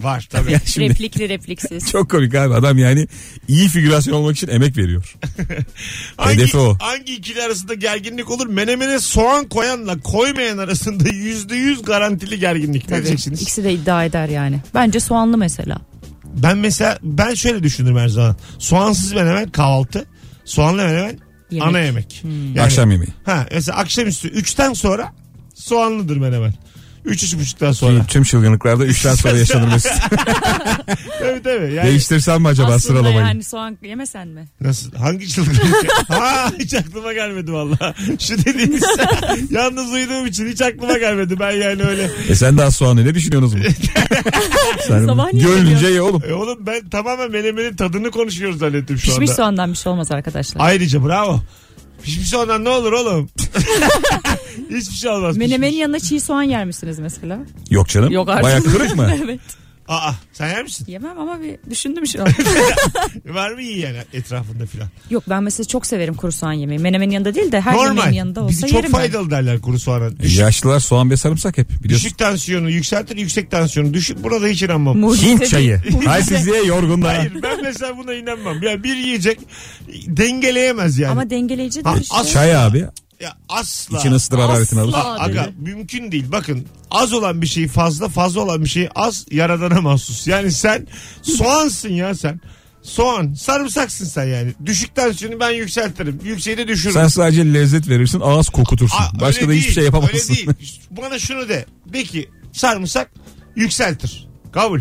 B: Var tabii.
D: Yani şimdi
C: Replikli repliksiz.
D: çok komik abi adam yani iyi figürasyon olmak için emek veriyor.
B: hangi,
D: Hedefi o.
B: hangi ikili arasında gerginlik olur? Menemene soğan koyanla koymayan arasında yüzde yüz garantili gerginlik. Ne diyeceksiniz?
C: İkisi de iddia eder yani. Bence soğanlı mesela.
B: Ben mesela ben şöyle düşünürüm her zaman. Soğansız menemen kahvaltı. Soğanlı menemen
C: Yemek. Hmm.
B: ana yemek. Yani-
D: Akşam yemeği.
B: Ha, mesela akşamüstü 3'ten sonra soğanlıdır menemen. 3 üç, buçuktan sonra.
D: Tüm, tüm çılgınlıklarda 3'ten sonra yaşanır Mesut.
B: tabii tabii. Yani
D: Değiştirsem mi acaba
C: Aslında
D: sıralamayı?
C: yani soğan yemesen mi?
B: Nasıl? Hangi çılgınlık? ha hiç aklıma gelmedi valla. Şu dediğiniz yalnız uyuduğum için hiç aklıma gelmedi. Ben yani öyle.
D: E sen daha soğanı ne düşünüyorsunuz bu? sen
C: Sabah niye
D: gönlünce
C: geliyorsun?
D: ye oğlum.
B: E oğlum ben tamamen menemenin tadını konuşuyoruz zannettim şu
C: Pişmiş
B: anda.
C: soğandan bir şey olmaz arkadaşlar.
B: Ayrıca bravo. Pişmiş soğandan ne olur oğlum? Hiçbir şey olmaz.
C: Menemenin
B: pişmiş.
C: yanına çiğ soğan yer misiniz mesela?
D: Yok canım.
C: Yok artık.
D: Bayağı kırık mı?
C: evet.
B: Aa sen yer misin?
C: Yemem ama bir düşündüm şu an.
B: Var mı iyi yani etrafında filan?
C: Yok ben mesela çok severim kuru soğan yemeği. Menemenin yanında değil de her yemeğin yanında
B: Normal.
C: olsa
B: Bizi
C: yerim
B: çok
C: ben.
B: faydalı derler kuru soğana.
D: E,
B: Düşük,
D: yaşlılar soğan ve sarımsak hep biliyorsun.
B: düşük tansiyonu yükseltir, yüksek tansiyonu düşük. Burada hiç inanmam.
C: Mucize
D: Hint
C: değil.
D: çayı.
C: Mucize.
D: Halsizliğe yorgunluğa.
B: Hayır ben mesela buna inanmam. Yani bir yiyecek dengeleyemez yani.
C: Ama dengeleyici şey.
B: Ha,
C: değil işte.
B: az-
D: Çay abi.
B: Ya asla.
D: İçine ısıtır hararetini alır.
C: Asla.
B: Aga mümkün değil. Bakın az olan bir şey fazla, fazla olan bir şey az yaradana mahsus. Yani sen soğansın ya sen. Soğan, sarımsaksın sen yani. Düşük tansiyonu ben yükseltirim. Yükseği de düşürürüm.
D: Sen sadece lezzet verirsin ağız kokutursun.
B: Aa,
D: Başka
B: öyle
D: da hiçbir
B: değil,
D: şey yapamazsın.
B: Öyle değil. Bana şunu de. De ki sarımsak yükseltir. Kabul.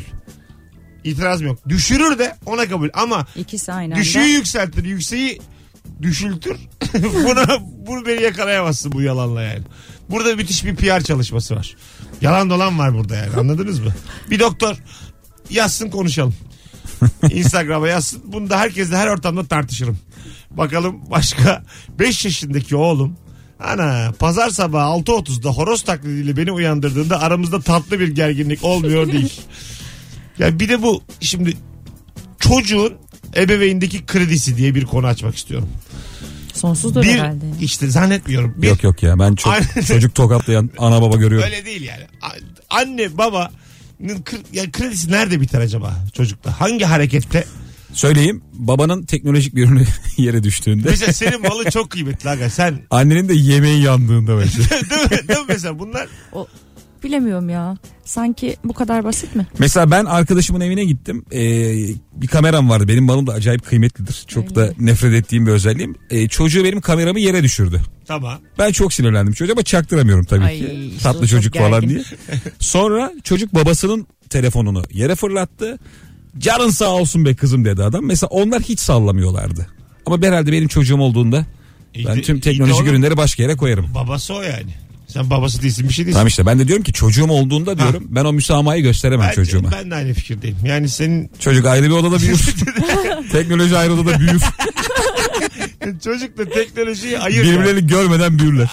B: İtiraz yok. Düşürür de ona kabul. Ama
C: İkisi aynı anda.
B: düşüğü yükseltir, yükseği düşültür. Buna bunu beni yakalayamazsın bu yalanla yani. Burada müthiş bir PR çalışması var. Yalan dolan var burada yani. Anladınız mı? Bir doktor yazsın konuşalım. Instagram'a yazsın. Bunu da herkesle her ortamda tartışırım. Bakalım başka 5 yaşındaki oğlum Ana pazar sabahı 6.30'da horoz taklidiyle beni uyandırdığında aramızda tatlı bir gerginlik olmuyor değil. Ya bir de bu şimdi çocuğun ebeveyndeki kredisi diye bir konu açmak istiyorum.
C: Sonsuzdur
B: bir
C: herhalde.
B: işte zannetmiyorum. Bir,
D: Yok yok ya ben çok,
B: Aynen.
D: çocuk tokatlayan ana baba görüyorum.
B: Öyle değil yani. A- Anne baba ya kredisi nerede biter acaba çocukta? Hangi harekette?
D: Söyleyeyim babanın teknolojik bir ürünü yere düştüğünde.
B: Mesela senin malı çok kıymetli aga. Sen
D: Annenin de yemeği yandığında bence.
B: değil mi, değil mi mesela bunlar?
C: O, bilemiyorum ya. Sanki bu kadar basit mi?
D: Mesela ben arkadaşımın evine gittim. Ee, bir kameram vardı. Benim malım da acayip kıymetlidir. Çok
C: Öyle.
D: da nefret ettiğim bir özelliğim. Ee, çocuğu benim kameramı yere düşürdü.
B: Tamam.
D: Ben çok sinirlendim çocuğa ama çaktıramıyorum tabii
C: Ay,
D: ki.
C: işte o
D: Tatlı
C: çok
D: çocuk falan
C: gergin.
D: diye. Sonra çocuk babasının telefonunu yere fırlattı. Canın sağ olsun be kızım dedi adam. Mesela onlar hiç sallamıyorlardı. Ama herhalde benim çocuğum olduğunda
B: İyi
D: ben
B: de-
D: tüm
B: iyi de
D: teknolojik
B: oğlum.
D: ürünleri başka yere koyarım.
B: Babası o yani. Sen babası değilsin bir şey değilsin.
D: Tamam işte ben de diyorum ki çocuğum olduğunda diyorum ben o müsamahayı gösteremem
B: Ben-
D: çocuğuma.
B: Ben de aynı fikirdeyim. Yani senin
D: Çocuk ayrı bir odada büyür. Teknoloji ayrı odada büyür.
B: çocukla teknolojiyi ayır.
D: Birbirlerini görmeden büyürler.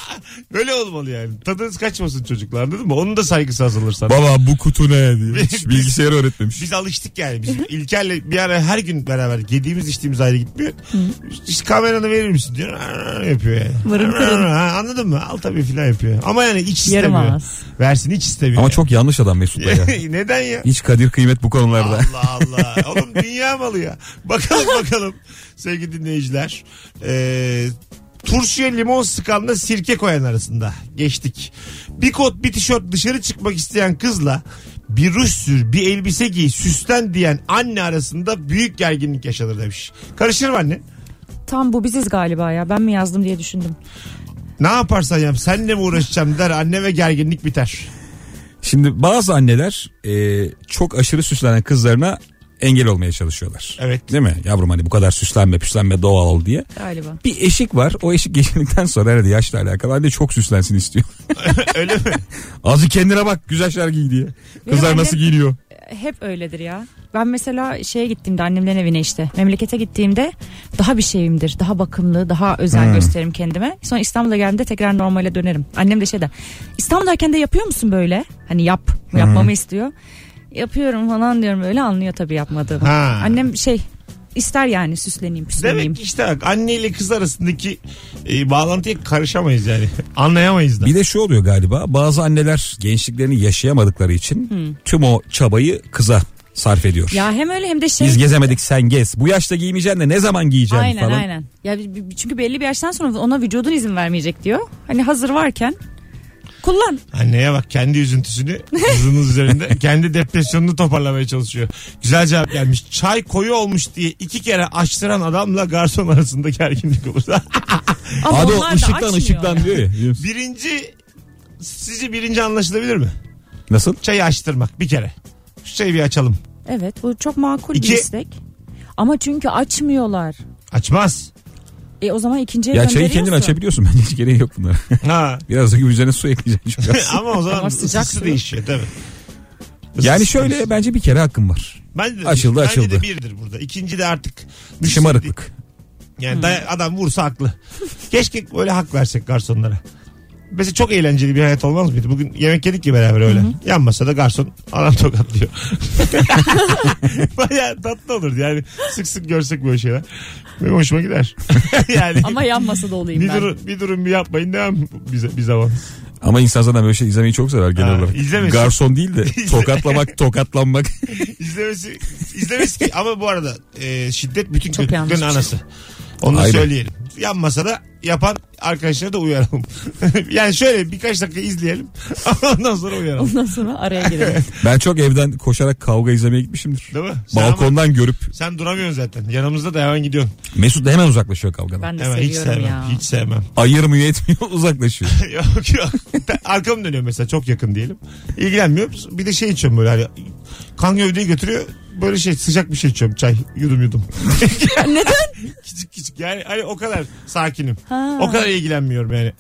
B: Öyle olmalı yani. Tadınız kaçmasın çocuklar anladın mı? Onun da saygısı azalır sana.
D: Baba bu kutu ne diye. Hiç Bilgisayarı öğretmemiş.
B: Biz alıştık yani. Biz İlker'le bir ara her gün beraber yediğimiz içtiğimiz ayrı gitmiyor. İşte kameranı verir misin diyor. "Aa," yapıyor yani.
C: Mırın kırın.
B: "Aa," Anladın mı? Al tabii filan yapıyor. Ama yani hiç
C: Yarım
B: istemiyor.
C: ağız.
B: Versin hiç istemiyor.
D: Ama çok yanlış adam Mesut Bey ya.
B: Neden ya?
D: Hiç kadir kıymet bu konularda.
B: Allah Allah. Oğlum dünya malı ya. Bakalım bakalım sevgili dinleyiciler. Ee, turşuya limon sıkanla sirke koyan arasında geçtik. Bir kot bir tişört dışarı çıkmak isteyen kızla bir ruj sür bir elbise giy süslen diyen anne arasında büyük gerginlik yaşanır demiş. Karışır mı anne?
C: Tam bu biziz galiba ya. Ben mi yazdım diye düşündüm.
B: Ne yaparsan yap senle mi uğraşacağım der anne ve gerginlik biter.
D: Şimdi bazı anneler e, çok aşırı süslenen kızlarına engel olmaya çalışıyorlar.
B: Evet.
D: Değil mi? Yavrum hani bu kadar süslenme püslenme doğal ol diye.
C: Galiba.
D: Bir eşik var. O eşik geçildikten sonra herhalde yaşla alakalı. Anne çok süslensin istiyor.
B: Öyle mi?
D: Azı kendine bak güzel şeyler giy diye. Kızlar
C: annem-
D: nasıl giyiniyor?
C: Hep öyledir ya. Ben mesela şeye gittiğimde annemlerin evine işte memlekete gittiğimde daha bir şeyimdir. Daha bakımlı, daha özen
D: Hmm.
C: gösteririm kendime. Sonra İstanbul'a geldiğimde tekrar normale dönerim. Annem de şey der. İstanbul'dayken de yapıyor musun böyle? Hani yap,
D: Hmm.
C: yapmamı istiyor. Yapıyorum falan diyorum öyle anlıyor tabii yapmadığımı.
B: Ha.
C: Annem şey ister yani süsleneyim püsleneyim.
B: Demek ki işte bak anne ile kız arasındaki e, bağlantıya karışamayız yani. Anlayamayız da.
D: Bir de şu oluyor galiba bazı anneler gençliklerini yaşayamadıkları için tüm o çabayı kıza sarf ediyor.
C: Ya hem öyle hem de şey.
D: Biz gezemedik sen gez. Bu yaşta giymeyeceksin de ne zaman giyeceksin
C: Aynen
D: hani falan.
C: aynen. Ya bi- bi- çünkü belli bir yaştan sonra ona vücudun izin vermeyecek diyor. Hani hazır varken kullan.
B: Anneye bak kendi üzüntüsünü kızınız üzerinde kendi depresyonunu toparlamaya çalışıyor. Güzel cevap gelmiş. Çay koyu olmuş diye iki kere açtıran adamla garson arasında gerginlik olur.
C: Ama
D: Abi
C: onlar
D: o
C: da
D: ışıktan
C: açmıyor.
D: ışıktan diyor ya.
B: birinci sizce birinci anlaşılabilir mi?
D: Nasıl?
B: Çayı açtırmak bir kere. Şu çayı bir açalım.
C: Evet bu çok makul
B: İki.
C: bir istek. Ama çünkü açmıyorlar.
B: Açmaz.
C: E o zaman ikinciye
D: Ya çayı
C: gönderiyorsun.
D: kendin açabiliyorsun. Bence hiç gereği yok bunlara.
B: Ha.
D: Biraz da üzerine su ekleyeceksin. çok az.
B: Ama o zaman
C: Ama sıcak
B: ısısı
C: su.
B: değişiyor tabii.
D: yani
B: Isısı
D: şöyle
B: değişiyor.
D: bence bir kere hakkım var.
B: Bence de,
D: açıldı,
B: bence
D: açıldı.
B: de birdir burada. İkinci de artık.
D: Şımarıklık.
B: Yani
C: Hmm.
B: daya- adam vursa haklı. Keşke böyle hak versek garsonlara. Mesela çok eğlenceli bir hayat olmaz mıydı? Bugün yemek yedik ya beraber öyle. Yan masada garson anam tokatlıyor. Baya tatlı olurdu yani. Sık sık görsek böyle şeyler. Benim hoşuma gider. yani
C: Ama yan masada olayım
B: bir,
C: ben.
B: durun, bir durun bir yapmayın devam bize, bir zaman.
D: Ama insan zaten böyle şey izlemeyi çok sever genel
B: Ha,
D: olarak.
B: izlemesin.
D: Garson değil de tokatlamak, tokatlanmak.
B: İzlemesi, izlemesi ki ama bu arada e, şiddet bütün
C: Çok yanlış
B: kötülüklerin
C: bir şey.
B: anası. Onu da
D: Aynen.
B: söyleyelim. Yan masada yapan arkadaşları da uyaralım. yani şöyle birkaç dakika izleyelim. Ondan sonra uyaralım.
C: Ondan sonra araya girelim.
D: Ben çok evden koşarak kavga izlemeye gitmişimdir.
B: Değil mi? Sen ama-
D: Balkondan görüp
B: Sen duramıyorsun zaten. Yanımızda da hemen gidiyorsun.
D: Mesut da hemen uzaklaşıyor kavgadan.
C: Ben de
B: Hemen hiç
C: seviyorum
B: sevmem.
C: ya.
B: Hiç sevmem.
D: Ayırmıyor etmiyor uzaklaşıyor.
B: yok yok. Arkam dönüyor mesela çok yakın diyelim. İlgilenmiyor. Bir de şey içiyorum böyle hani kan gövdeyi götürüyor. Böyle şey sıcak bir şey içiyorum çay yudum yudum.
C: Neden?
B: küçük küçük yani hani o kadar sakinim.
C: Ha.
B: O kadar ilgilenmiyorum yani.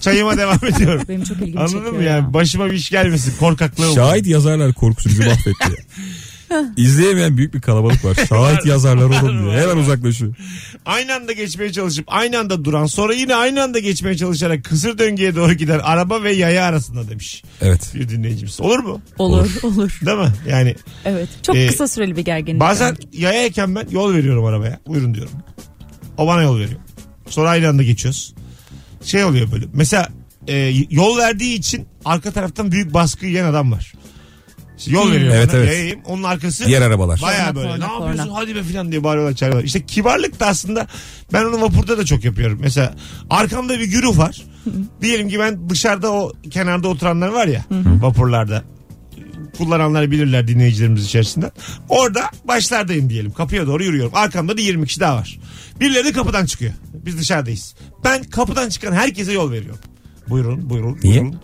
B: Çayıma devam ediyorum.
C: Benim çok ilgimi
B: Anladın
C: çekiyor
B: mı yani?
C: ya.
B: Başıma bir iş gelmesin korkaklığım.
D: Şahit yazarlar korkusu bizi mahvetti. İzleyemeyen büyük bir kalabalık var. Şahit yazarlar oğlum diye. Hemen uzaklaşıyor.
B: Aynı anda geçmeye çalışıp aynı anda duran sonra yine aynı anda geçmeye çalışarak kısır döngüye doğru giden araba ve yaya arasında demiş
D: Evet.
B: bir dinleyicimiz. Olur mu?
C: Olur olur.
B: Değil mi? Yani
C: Evet. Çok
B: Ee,
C: kısa süreli bir gerginlik.
B: bazen yayayken ben yol veriyorum arabaya. Buyurun diyorum. O bana yol veriyor. Sonra aynı anda geçiyoruz. Şey oluyor böyle. Mesela e, yol verdiği için arka taraftan büyük baskı yiyen adam var. İşte yol veriyor
D: Evet,
B: bana.
D: evet.
B: Yayayım. Onun arkası
D: Diğer arabalar.
B: Baya
C: Korna,
B: böyle
C: Hmm. korna,
B: ne yapıyorsun
C: korna.
B: hadi be filan diye bağırıyorlar çağırıyorlar. İşte kibarlık da aslında ben onu vapurda da çok yapıyorum. Mesela arkamda bir güruh var. Diyelim ki ben dışarıda o kenarda oturanlar var ya vapurlarda. Kullananlar bilirler dinleyicilerimiz içerisinde. Orada başlardayım diyelim. Kapıya doğru yürüyorum. Arkamda da 20 kişi daha var. Birileri de kapıdan çıkıyor. Biz dışarıdayız. Ben kapıdan çıkan herkese yol veriyorum. Buyurun buyurun
D: Niye?
B: buyurun.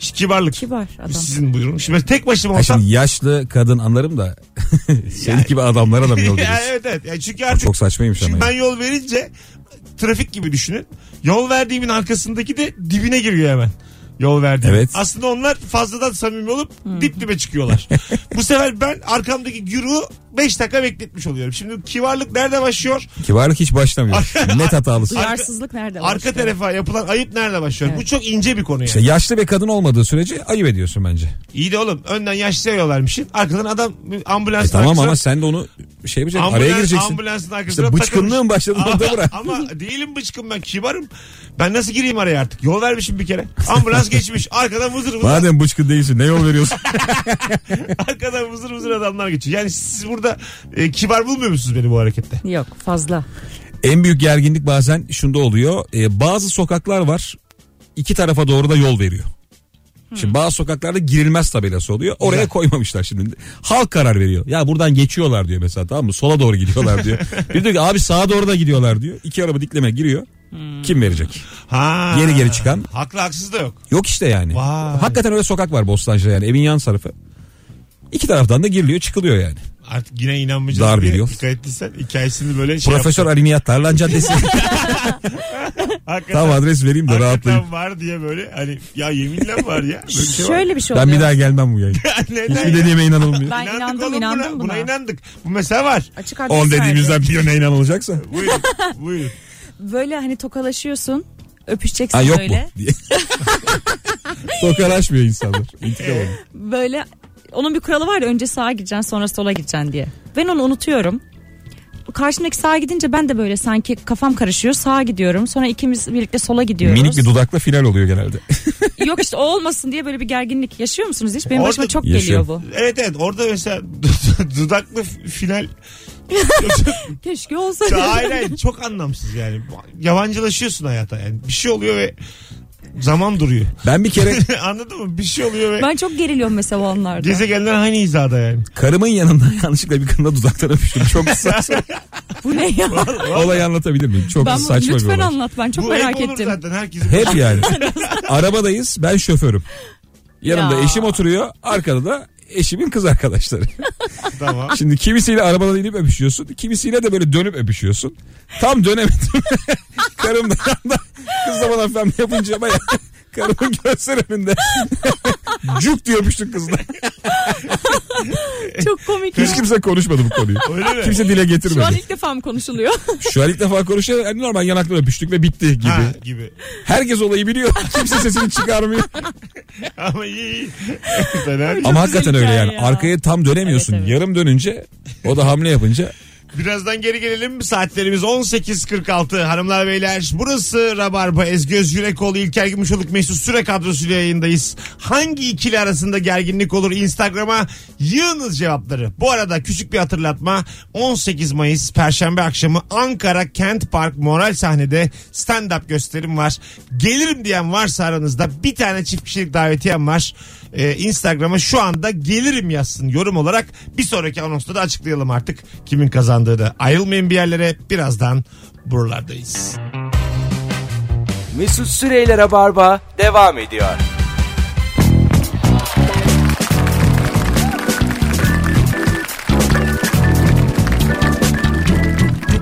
B: İşte kibarlık.
C: Kibar adam.
B: Sizin buyurun. Şimdi ben tek başıma
D: Ha
B: olsam.
D: şimdi yaşlı kadın anlarım da senin gibi adamlara da mı yol
B: Ya
D: veriyorsun?
B: evet evet. Yani çünkü artık
D: Çok saçmaymış ama.
B: Şimdi ben
D: ya.
B: yol verince trafik gibi düşünün. Yol verdiğimin arkasındaki de dibine giriyor hemen. Yol verdiğim.
D: Evet.
B: Aslında onlar fazladan samimi olup dip dibe çıkıyorlar. Bu sefer ben arkamdaki güruğu 5 dakika bekletmiş oluyorum. Şimdi kibarlık nerede başlıyor?
D: Kibarlık hiç başlamıyor. Net hatalısın.
C: Duyarsızlık nerede? var?
B: Arka tarafa yapılan ayıp nerede başlıyor? Bu çok ince bir konu yani.
D: İşte yaşlı bir kadın olmadığı sürece ayıp ediyorsun bence. E
B: İyi de oğlum önden yaşlıya yollarmışsın. Arkadan adam ambulans
D: E tamam ama sen de onu şey yapacaksın. Araya gireceksin.
B: Ambulansın arkasına
D: İşte bıçkınlığın
B: takılmış.
D: başladı
B: Ama-
D: orada bırak.
B: Ama değilim bıçkın ben kibarım. Ben nasıl gireyim araya artık? Yol vermişim bir kere. Ambulans geçmiş. Arkadan vızır vızır.
D: Madem bıçkın değilsin ne yol veriyorsun?
B: Arkadan vızır vızır adamlar geçiyor. Yani siz burada e, kibar bulmuyor musunuz beni bu harekette?
C: Yok fazla.
D: En büyük gerginlik bazen şunda oluyor. Ee, bazı sokaklar var. iki tarafa doğru da yol veriyor. Şimdi bazı sokaklarda girilmez tabelası oluyor. Oraya
B: Hmm. Güzel.
D: koymamışlar şimdi. Halk karar veriyor. Ya buradan geçiyorlar diyor mesela tamam mı? Sola doğru gidiyorlar diyor. Bir diyor ki abi sağa doğru da gidiyorlar diyor. İki araba dikleme giriyor.
B: Hmm.
D: Kim verecek?
B: Ha.
D: Geri geri çıkan.
B: Haklı haksız da yok.
D: Yok işte yani.
B: Vay.
D: Hakikaten öyle sokak var Bostancı'da yani. Evin yan tarafı. İki taraftan da giriliyor çıkılıyor yani.
B: Artık yine inanmayacağız
D: Dar
B: diye
D: biliyor.
B: dikkat ettiysen hikayesini böyle şey
D: Profesör Alimiyat Tarlan Caddesi.
B: yaptım. Hakikaten,
D: Tam adres vereyim de
B: hakikaten
D: rahatlayın.
B: var diye böyle hani ya yeminle var ya. Böyle bir şey var.
C: Şöyle bir şey
D: Ben
C: oluyor.
D: bir daha gelmem bu yayına.
B: Neden
D: Hiçbir
B: ya?
D: dediğime inanılmıyor.
C: Ben
B: İnandık
C: inandım
B: oğlum
C: inandım
B: buna.
C: buna.
B: Buna inandık. Bu mesela var.
C: Açık adres
D: 10
C: verdi.
D: dediğimizden birine inanılacaksa.
B: Buyurun. buyurun.
C: Böyle hani tokalaşıyorsun. Öpüşeceksin
D: Ha yok
C: böyle.
D: mu? diye. Tokalaşmıyor insanlar. İntikam alın.
C: böyle onun bir kuralı var ya önce sağa gideceksin sonra sola gideceksin diye. Ben onu unutuyorum. Karşımdaki sağa gidince ben de böyle sanki kafam karışıyor. Sağa gidiyorum. Sonra ikimiz birlikte sola gidiyoruz.
D: Minik bir dudakla final oluyor genelde.
C: Yok işte o olmasın diye böyle bir gerginlik yaşıyor musunuz hiç? Benim
B: Orada-
C: başıma çok
D: Yaşıyorum.
C: geliyor bu.
B: Evet evet orada mesela du- dudaklı final
C: Keşke olsaydı.
B: hayır hayır çok anlamsız yani. Yabancılaşıyorsun hayata yani. Bir şey oluyor ve zaman duruyor.
D: Ben bir kere
B: Anladın mı? Bir şey oluyor ve
C: Ben çok geriliyorum mesela onlarda.
B: gezegenler aynı hizada yani.
D: karımın yanında yanlışlıkla bir kadına dudaktan öpüştüm. Çok saçma.
C: Bu ne ya?
D: Olayı anlatabilir miyim? Çok
C: ben bu-
D: saçma bir
C: lütfen
D: olay.
C: anlat ben çok
B: Bu
C: merak
B: hep olur
C: ettim.
B: zaten herkesin.
D: Hep yani. Arabadayız ben şoförüm. Yanımda
C: Ya.
D: eşim oturuyor arkada da eşimin kız arkadaşları.
B: Tamam.
D: Şimdi kimisiyle arabadan inip öpüşüyorsun. Kimisiyle de böyle dönüp öpüşüyorsun. Tam dönemedim. Karım da yanda. Kız da bana efendim yapınca ama ya. Karımın gözler önünde. Cuk diye öpüştük kızla.
C: Çok komik. ya.
D: Hiç kimse konuşmadı bu konuyu.
B: Öyle mi?
D: Kimse dile
C: Şu an
D: getirmedi.
C: ilk defa mı konuşuluyor?
D: Şu an ilk defa konuşuyor. Yani normal yanaklar öpüştük ve bitti gibi.
B: Ha, gibi.
D: Herkes olayı biliyor. Kimse sesini çıkarmıyor.
B: Ama iyi iyi. Fena değil.
D: Ama hakikaten
C: güzel
D: öyle yani.
C: hikaye ya.
D: Arkaya tam dönemiyorsun.
C: Evet, evet.
D: Yarım dönünce o da hamle yapınca
B: Birazdan geri gelelim mi? Saatlerimiz 18.46. Hanımlar beyler burası Rabarba. Ezgi Özgürekoğlu, İlker Gümüşoluk, Mesut Süre kadrosuyla yayındayız. Hangi ikili arasında gerginlik olur? Instagram'a yığınız cevapları. Bu arada küçük bir hatırlatma. 18 Mayıs Perşembe akşamı Ankara Kent Park Moral Sahnede stand-up gösterim var. Gelirim diyen varsa aranızda bir tane çift kişilik davetiyem var. Ee, Instagram'a şu anda gelirim yazsın yorum olarak. Bir sonraki anonsta da açıklayalım artık kimin kazandığı da. Ayrılmayın bir yerlere birazdan buralardayız.
A: Mesut Süreyler'e barba devam ediyor.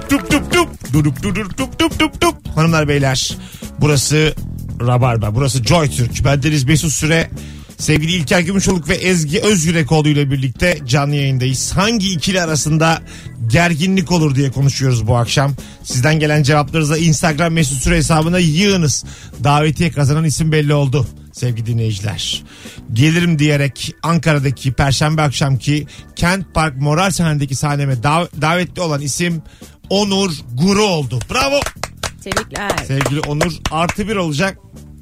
B: Tup tup tup. Durup durup tup tup tup tup. Hanımlar beyler burası Rabarba. Burası Joy Türk. Bendeniz Mesut Süre. Sevgili İlker Gümüşoluk ve Ezgi Özgürekoğlu ile birlikte canlı yayındayız. Hangi ikili arasında gerginlik olur diye konuşuyoruz bu akşam. Sizden gelen cevaplarınıza Instagram Mesut Süre hesabına yığınız. Davetiye kazanan isim belli oldu sevgili dinleyiciler. Gelirim diyerek Ankara'daki Perşembe akşamki Kent Park Moral Sahne'deki sahneme dav- davetli olan isim Onur Guru oldu. Bravo
C: Tebrikler.
B: sevgili Onur. Artı bir olacak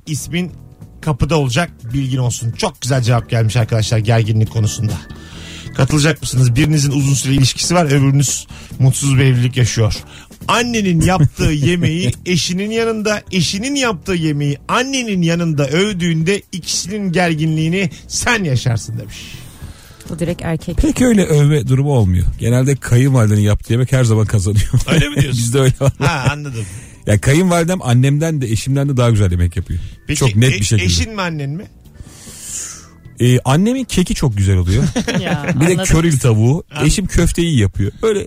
B: ismin kapıda olacak bilgin olsun. Çok güzel cevap gelmiş arkadaşlar gerginlik konusunda. Katılacak mısınız? Birinizin uzun süre ilişkisi var öbürünüz mutsuz bir evlilik yaşıyor. Annenin yaptığı yemeği eşinin yanında, eşinin yaptığı yemeği annenin yanında övdüğünde ikisinin gerginliğini sen yaşarsın demiş.
C: Bu direkt erkek.
D: pek öyle övme durumu olmuyor. Genelde kayınvalidenin yaptığı yemek her zaman kazanıyor.
B: Öyle mi diyorsun?
D: Bizde öyle var.
B: Ha anladım.
D: Ya kayınvalidem annemden de eşimden de daha güzel yemek yapıyor.
B: Peki,
D: çok net bir
B: e-
D: şekilde.
B: Eşin mi annen mi?
D: Ee, annemin keki çok güzel oluyor.
C: Ya,
D: bir de
C: anladım.
D: köril tavuğu. Eşim köfteyi yapıyor. Böyle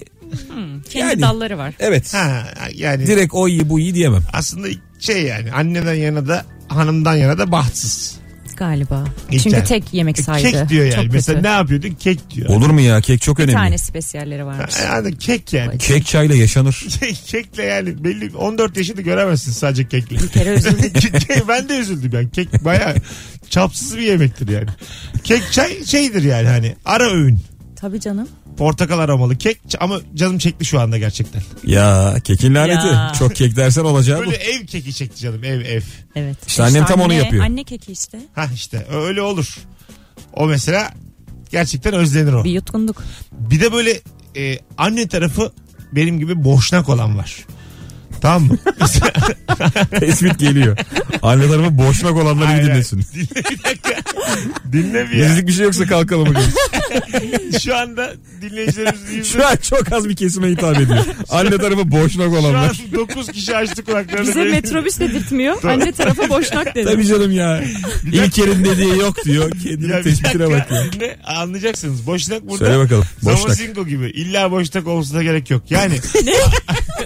C: Kendi
D: yani-
C: dalları var.
D: evet.
B: Ha yani
D: Direkt o iyi bu iyi diyemem.
B: aslında şey yani anneden yana da hanımdan yana da bahtsız.
C: Galiba.
B: İlker.
C: Çünkü tek yemek
B: E,
C: saydı.
B: Kek diyor yani.
C: Çok
B: Mesela
C: kötü.
B: ne yapıyordun? Kek diyor.
D: Olur mu ya kek çok
C: Bir
D: önemli.
C: tane spesiyalleri varmış.
B: Yani kek yani.
D: Kek çayla yaşanır.
B: Kek- Kekle yani belli 14 yaşını göremezsin sadece kekle.
C: kere üzüldüm.
B: Kek- ben de üzüldüm yani. Kek baya çapsız bir yemektir yani. Kek çay şeydir yani hani ara öğün.
C: Tabii canım.
B: Portakal aromalı kek ç- ama canım çekti şu anda gerçekten.
D: Ya kekin laneti.
C: Ya.
D: Çok kek dersen olacağı bu.
B: Böyle ev keki çekti canım ev ev.
C: Evet.
D: İşte annem tam onu yapıyor.
C: Anne keki işte.
B: Ha işte öyle olur. O mesela gerçekten özlenir o.
C: Bir yutkunduk.
B: Bir de böyle e, anne tarafı benim gibi boşnak olan var. Tamam mı?
D: Tespit geliyor. Anne tarafı boşnak olanları iyi
B: Hayır,
D: dinlesin.
B: Dinle bir ya.
D: Bizlik bir şey yoksa kalkalım. hocam.
B: Şu anda dinleyicilerimiz yüzde-
D: Şu an çok az bir kesime hitap ediyor. Anne tarafı boşnak
B: Şu an
D: olanlar.
B: 9 kişi açtı kulaklarını.
C: Bize metrobüs dedirtmiyor. Anne tarafa boşnak dedi.
D: Tabii canım ya. İlker'in dediği yok diyor.
B: Ya
D: Kendini
B: bir
D: tespitine
B: dakika,
D: bak ya.
B: dinle, anlayacaksınız. Boşnak burada.
D: Söyle bakalım. Boşnak.
B: Zamazingo gibi. İlla boşnak olmasına gerek yok. Yani.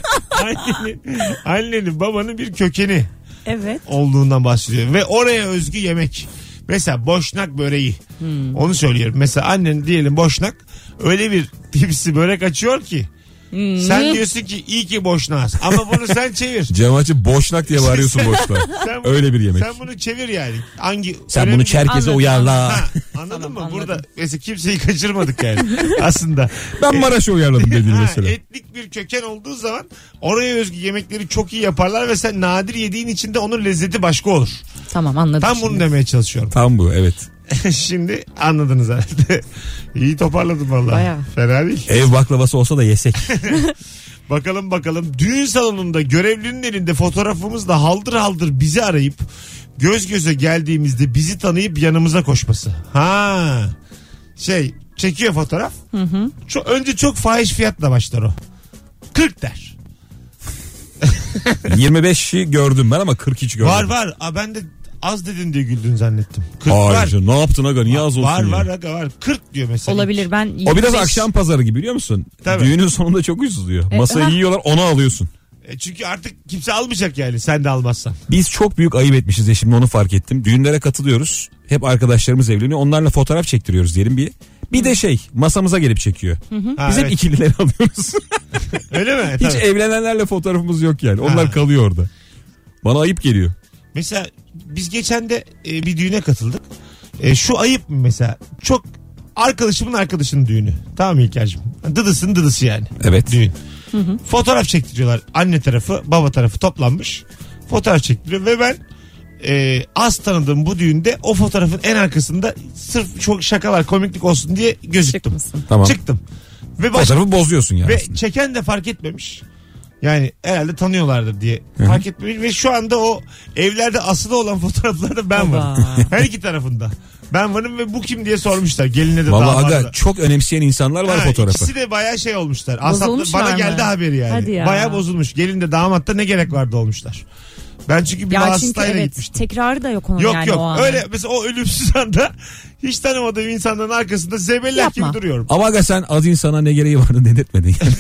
B: annenin, annenin babanın bir kökeni
C: Evet.
B: olduğundan bahsediyor. Ve oraya özgü yemek. Mesela boşnak böreği.
C: Hmm.
B: Onu söylüyorum. Mesela annen diyelim boşnak öyle bir tipsi börek açıyor ki.
C: Hmm.
B: Sen diyorsun ki iyi ki boşnağız. Ama bunu sen çevir.
D: Cem açıp boşnak diye bağırıyorsun boşta.
B: Sen bunu-
D: Öyle bir yemek.
B: Sen bunu çevir yani. Hangi
E: Sen
B: önemli
E: bunu
B: değil.
E: Çerkez'e
C: Anladım.
E: uyarla.
B: Ha, anladın
C: Tamam,
B: mı?
C: anladım.
B: Burada mesela kimseyi kaçırmadık yani. Aslında.
D: Ben Maraş'ı uyarladım dediğin
B: E- Ha,
D: mesela.
B: etnik bir köken olduğu zaman oraya özgü yemekleri çok iyi yaparlar ve sen nadir yediğin için de onun lezzeti başka olur.
C: Tamam anladım.
B: Tam bunu demeye çalışıyorum.
D: Tam bu evet.
B: Şimdi anladınız herhalde. iyi toparladım valla.
C: Bayağı.
B: Fena değil.
E: Ev baklavası olsa da yesek.
B: Bakalım bakalım düğün salonunda görevlinin elinde fotoğrafımızla haldır haldır bizi arayıp göz göze geldiğimizde bizi tanıyıp yanımıza koşması. Ha. Şey çekiyor fotoğraf. Ço- önce çok fahiş fiyatla başlar o. 40 der.
D: 25'i gördüm ben ama 43 görmedim.
B: Var var. Aa, ben de az dedin diye güldün zannettim. 40
D: Hayır
B: var.
D: canım, ne yaptın aga niye az olsun
B: var
D: ya?
B: var aga var. 40 diyor mesela.
C: Olabilir ben.
D: O biraz
C: 25
D: akşam pazarı gibi biliyor musun?
B: Tabii.
D: Düğünün sonunda çok ucuz diyor.
C: E,
D: Masayı
C: ha.
D: yiyorlar onu alıyorsun.
B: E, çünkü artık kimse almayacak yani sen de almazsan.
D: Biz çok büyük ayıp etmişiz ya şimdi onu fark ettim. Düğünlere katılıyoruz. Hep arkadaşlarımız evleniyor. Onlarla fotoğraf çektiriyoruz diyelim bir. Bir de şey masamıza gelip çekiyor.
B: Ha,
D: Biz hep
B: evet.
D: ikilileri alıyoruz.
B: Öyle mi?
D: Hiç
B: Tabii.
D: evlenenlerle fotoğrafımız yok yani. Onlar
B: Ha.
D: kalıyor orada. Bana ayıp geliyor.
B: Mesela biz geçen de e, bir düğüne katıldık. E, şu ayıp mı mesela? Çok arkadaşımın arkadaşının düğünü. Tamam mı İlker'cim? Dıdısın dıdısı yani.
D: Evet.
B: Düğün. Fotoğraf çektiriyorlar. Anne tarafı, baba tarafı toplanmış. Fotoğraf çektiriyor ve ben e, az tanıdığım bu düğünde o fotoğrafın en arkasında sırf çok şakalar komiklik olsun diye gözüktüm.
C: çıkmışsın.
D: Tamam.
B: Çıktım. Ve baş,
D: Fotoğrafı bozuyorsun yani.
B: ve
D: aslında.
B: çeken de fark etmemiş. Yani herhalde tanıyorlardı diye fark etmemiş ve şu anda o evlerde asılı olan fotoğraflarda ben
C: Baba.
B: varım. Her iki tarafında. Ben varım ve bu kim diye sormuşlar. Geline de
D: Vallahi
B: damada
D: aga
B: da.
D: çok önemseyen insanlar var
B: Ha,
D: fotoğrafı.
B: İkisi de bayağı şey olmuşlar. Asaplı,
C: Bozulmuşlar
B: bana
C: mı?
B: geldi haberi yani.
C: Hadi ya.
B: Bayağı bozulmuş. Gelin de damat da ne gerek vardı olmuşlar. Ben çünkü bir
C: Ya çünkü
B: hastayla
C: evet
B: gitmiştim.
C: tekrarı da yok onun
B: Yok
C: yani o
B: yok
C: anın.
B: öyle mesela o ölümsüz anda hiç tanımadığım insanların arkasında zebellak gibi
C: Yapma.
B: duruyorum.
D: Ama aga sen az insana ne gereği vardı dedirtmedin. Yani.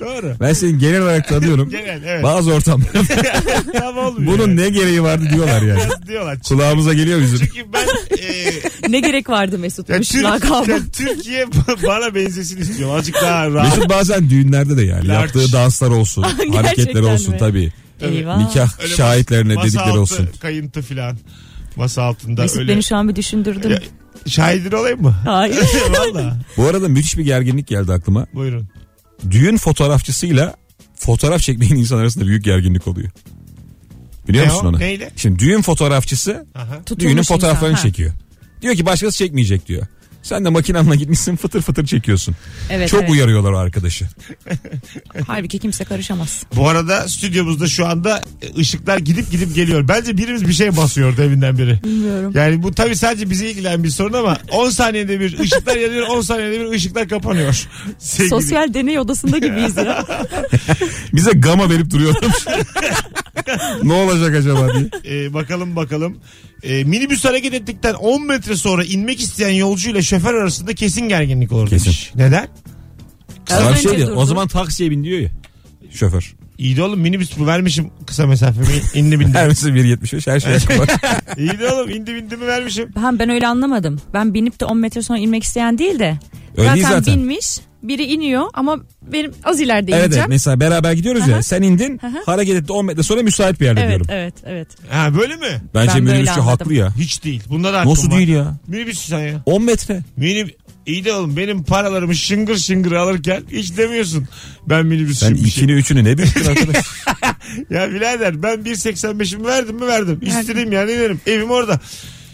B: Doğru.
D: ben seni genel olarak tanıyorum.
B: Genel evet.
D: Bazı ortamlarda
B: Tam olmuyor.
D: bunun ne gereği vardı diyorlar yani.
B: diyorlar.
D: Kulağımıza geliyor bizim.
B: Çünkü ben e,
C: Ne gerek vardı Mesut'muş
B: ya Türk,
C: lakabı.
B: ya Türkiye bana benzesin istiyorum. Azıcık daha rahat.
D: Mesut bazen düğünlerde de yani
B: Large.
D: yaptığı danslar olsun,
C: Gerçekten
D: hareketleri olsun
C: mi?
D: tabii.
C: Eyvah.
D: Nikah
B: Öyle mas-
D: şahitlerine
B: masa
D: dedikleri
B: altı
D: olsun.
B: kayıntı filan. Masa altında
C: Mesut
B: öyle.
C: beni şu an bir düşündürdün.
B: Ya, şahidin olayım mı?
C: Hayır.
B: Valla.
D: Bu arada müthiş bir gerginlik geldi aklıma.
B: Buyurun.
D: Düğün fotoğrafçısıyla fotoğraf çekmeyen insan arasında büyük gerginlik oluyor. Biliyor
B: Ne
D: musun
B: o?
D: onu?
B: Neyle?
D: Şimdi düğün fotoğrafçısı
B: Aha.
C: Tutulmuş
D: düğünün
C: insan,
D: fotoğraflarını
C: ha.
D: çekiyor. Diyor ki başkası çekmeyecek diyor. Sen de makinanla gitmişsin fıtır fıtır çekiyorsun.
C: Evet,
D: Çok
C: evet.
D: uyarıyorlar o arkadaşı.
C: Halbuki kimse karışamaz.
B: Bu arada stüdyomuzda şu anda e, ışıklar gidip gidip geliyor. Bence birimiz bir şey basıyor evinden biri.
C: Bilmiyorum.
B: Yani bu tabii sadece bizi ilgilen bir sorun ama 10 saniyede bir ışıklar yanıyor 10 saniyede bir ışıklar kapanıyor. Sevgili-
C: Sosyal deney odasında gibiyiz ya.
D: Bize gama verip duruyorlarmış. ne olacak acaba diye.
B: Ee, bakalım bakalım. Ee, minibüs hareket ettikten 10 metre sonra inmek isteyen yolcu ile şoför arasında kesin gerginlik olur
D: Kesin.
B: demiş. Neden?
C: Az
D: Abi
C: önce
D: şey diyor,
C: durdu.
D: o zaman taksiye bin diyor ya. Şoför.
B: İyi de oğlum minibüs bu vermişim kısa mesafemi indi bindi.
D: Her birisi 1.75 her şey açık var.
B: İyi de oğlum indi bindi mi vermişim.
C: Ben, ben öyle anlamadım. Ben binip de 10 metre sonra inmek isteyen değil de.
D: Öyle değil
C: zaten,
D: zaten.
C: binmiş biri iniyor ama benim az ileride
D: evet, evet
C: ineceğim.
D: mesela beraber gidiyoruz ya. Sen indin hareket etti 10 metre sonra müsait bir yerde
C: evet
D: diyorum.
C: evet evet.
B: Ha böyle mi?
C: Ben
D: Bence
C: böyle
D: minibüsçü
C: anladım.
D: haklı ya.
B: Hiç değil. Bunda da hakkım
D: Nasıl
B: var.
D: değil ya?
B: Minibüs sen ya.
D: 10 metre.
B: Minib... İyi de oğlum benim paralarımı şıngır şıngır alırken hiç demiyorsun. Ben
D: Sen
B: minibüsçüyüm. bir şey.
D: ikini üçünü ne büyüktün arkadaş.
B: Ya birader ben 1.85'imi verdim mi verdim. İstedim yani derim. Evim orada.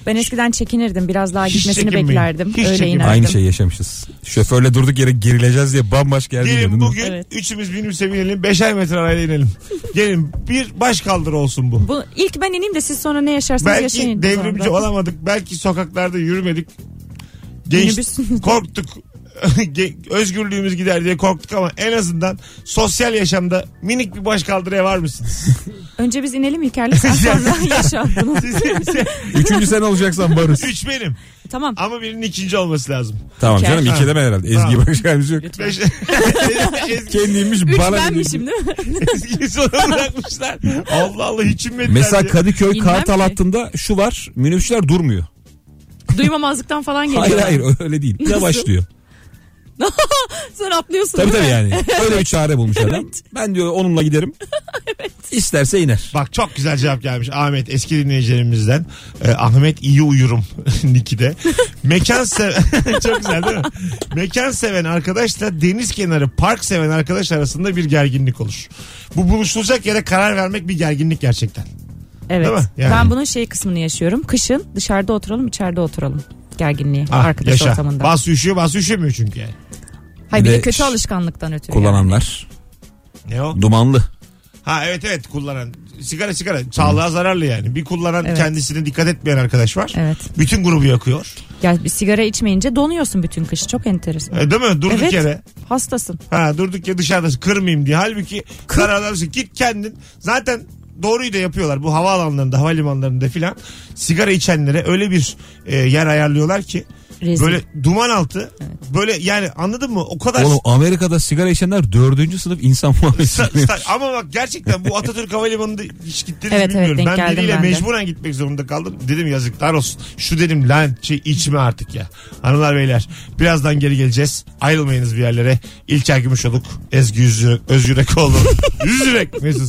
C: Ben eskiden çekinirdim. Biraz daha
B: Hiç
C: gitmesini
B: çekinmeyin.
C: beklerdim.
B: Hiç
C: Öyle
B: çekinmeyin.
C: inerdim.
D: Aynı şey yaşamışız. Şoförle durduk yere gerileceğiz diye bambaşka yerde
B: Gelin
D: girdin.
B: bugün
C: Evet.
B: üçümüz minibüse binelim. Beşer metre arayla inelim. Gelin bir baş kaldır olsun bu.
C: Bu ilk ben ineyim de siz sonra ne yaşarsanız yaşayın.
B: Belki
C: o
B: devrimci
C: zaman.
B: olamadık. Belki sokaklarda yürümedik. Genç
C: Minibüsünüzde.
B: korktuk. Ge- Özgürlüğümüz gider diye korktuk ama en azından sosyal yaşamda minik bir baş kaldırıya var mısınız?
C: Önce biz inelim İlker'le sen sonra yaşadın.
D: Üçüncü sen olacaksan varız.
B: Üç benim
C: tamam.
B: ama birinin ikinci olması lazım.
D: tamam canım
B: Ha.
D: iki deme herhalde. Ezgi'yi
B: Tamam.
D: bırakacağımız yok.
B: Beş... Ezgi-
D: Kendiymiş
C: Üç
D: bana.
C: benmişim değil mi?
B: Ezgi'yi sonra bırakmışlar. Allah Allah hiç inmediler.
D: Mesela
B: diye.
D: Kadıköy
C: Bilmem
D: Kartal
C: ki.
D: hattında şu var. Minibüsler durmuyor.
C: Duymamazlıktan falan geliyor.
D: Hayır hayır öyle değil.
C: Nasıl?
D: Yavaş diyor.
C: Sen atlıyorsun
D: Tabii
C: değil
D: tabii
C: mi?
D: yani. Öyle bir çare bulmuş adam. Ben diyor onunla giderim. İsterse iner.
B: Bak çok güzel cevap gelmiş Ahmet eski dinleyicilerimizden. Ee, Ahmet iyi uyurum Niki'de. Mekan seven çok güzel değil mi? Mekan seven arkadaşla deniz kenarı park seven arkadaş arasında bir gerginlik olur. Bu buluşulacak yere karar vermek bir gerginlik gerçekten.
C: Evet.
B: Değil mi? Yani.
C: Ben bunun şey kısmını yaşıyorum. Kışın dışarıda oturalım, içeride oturalım. Gerginliği
B: Ah,
C: arkadaş ortamında.
B: Bazı üşüyor bazı üşümüyor çünkü. yani.
C: Hayır bir
D: Bir
C: de
D: de
C: kötü
D: ş-
C: alışkanlıktan ötürü. yani.
D: Kullananlar.
B: Ne o?
D: Dumanlı.
B: Ha evet evet kullanan. Sigara sigara sağlığa zararlı yani. Bir kullanan
C: Evet.
B: kendisine dikkat etmeyen arkadaş var.
C: Evet.
B: Bütün grubu yakıyor.
C: Ya bir sigara içmeyince donuyorsun bütün kışı. Çok enteresan.
B: E, Değil mi? Durduk
C: Evet.
B: yere.
C: Hastasın.
B: Ha durduk ya dışarıda kırmayayım diye. Halbuki kararlarsın git kendin. Zaten doğruyu da yapıyorlar bu havaalanlarında, havalimanlarında filan. Sigara içenlere öyle bir e, yer ayarlıyorlar ki
C: Rezil.
B: böyle duman altı. Böyle yani anladın mı? O kadar
D: Oğlum Amerika'da sigara içenler dördüncü sınıf insan muamelesi.
B: Sa-
D: görüyor.
B: sa- ama bak gerçekten bu Atatürk Havalimanı'nda hiç gittiniz
C: Evet, evet,
B: bilmiyorum.
C: denk
B: ben
C: geldim
B: biriyle
C: ben de.
B: mecburen gitmek zorunda kaldım. Dedim yazıklar olsun. Şu dedim lan şey, içme artık ya. Hanımlar beyler birazdan geri geleceğiz. Ayrılmayınız bir yerlere. İlker Gümüşoluk, Ezgi Yüzü, Özgürek oğlu. Yüzürek Mesut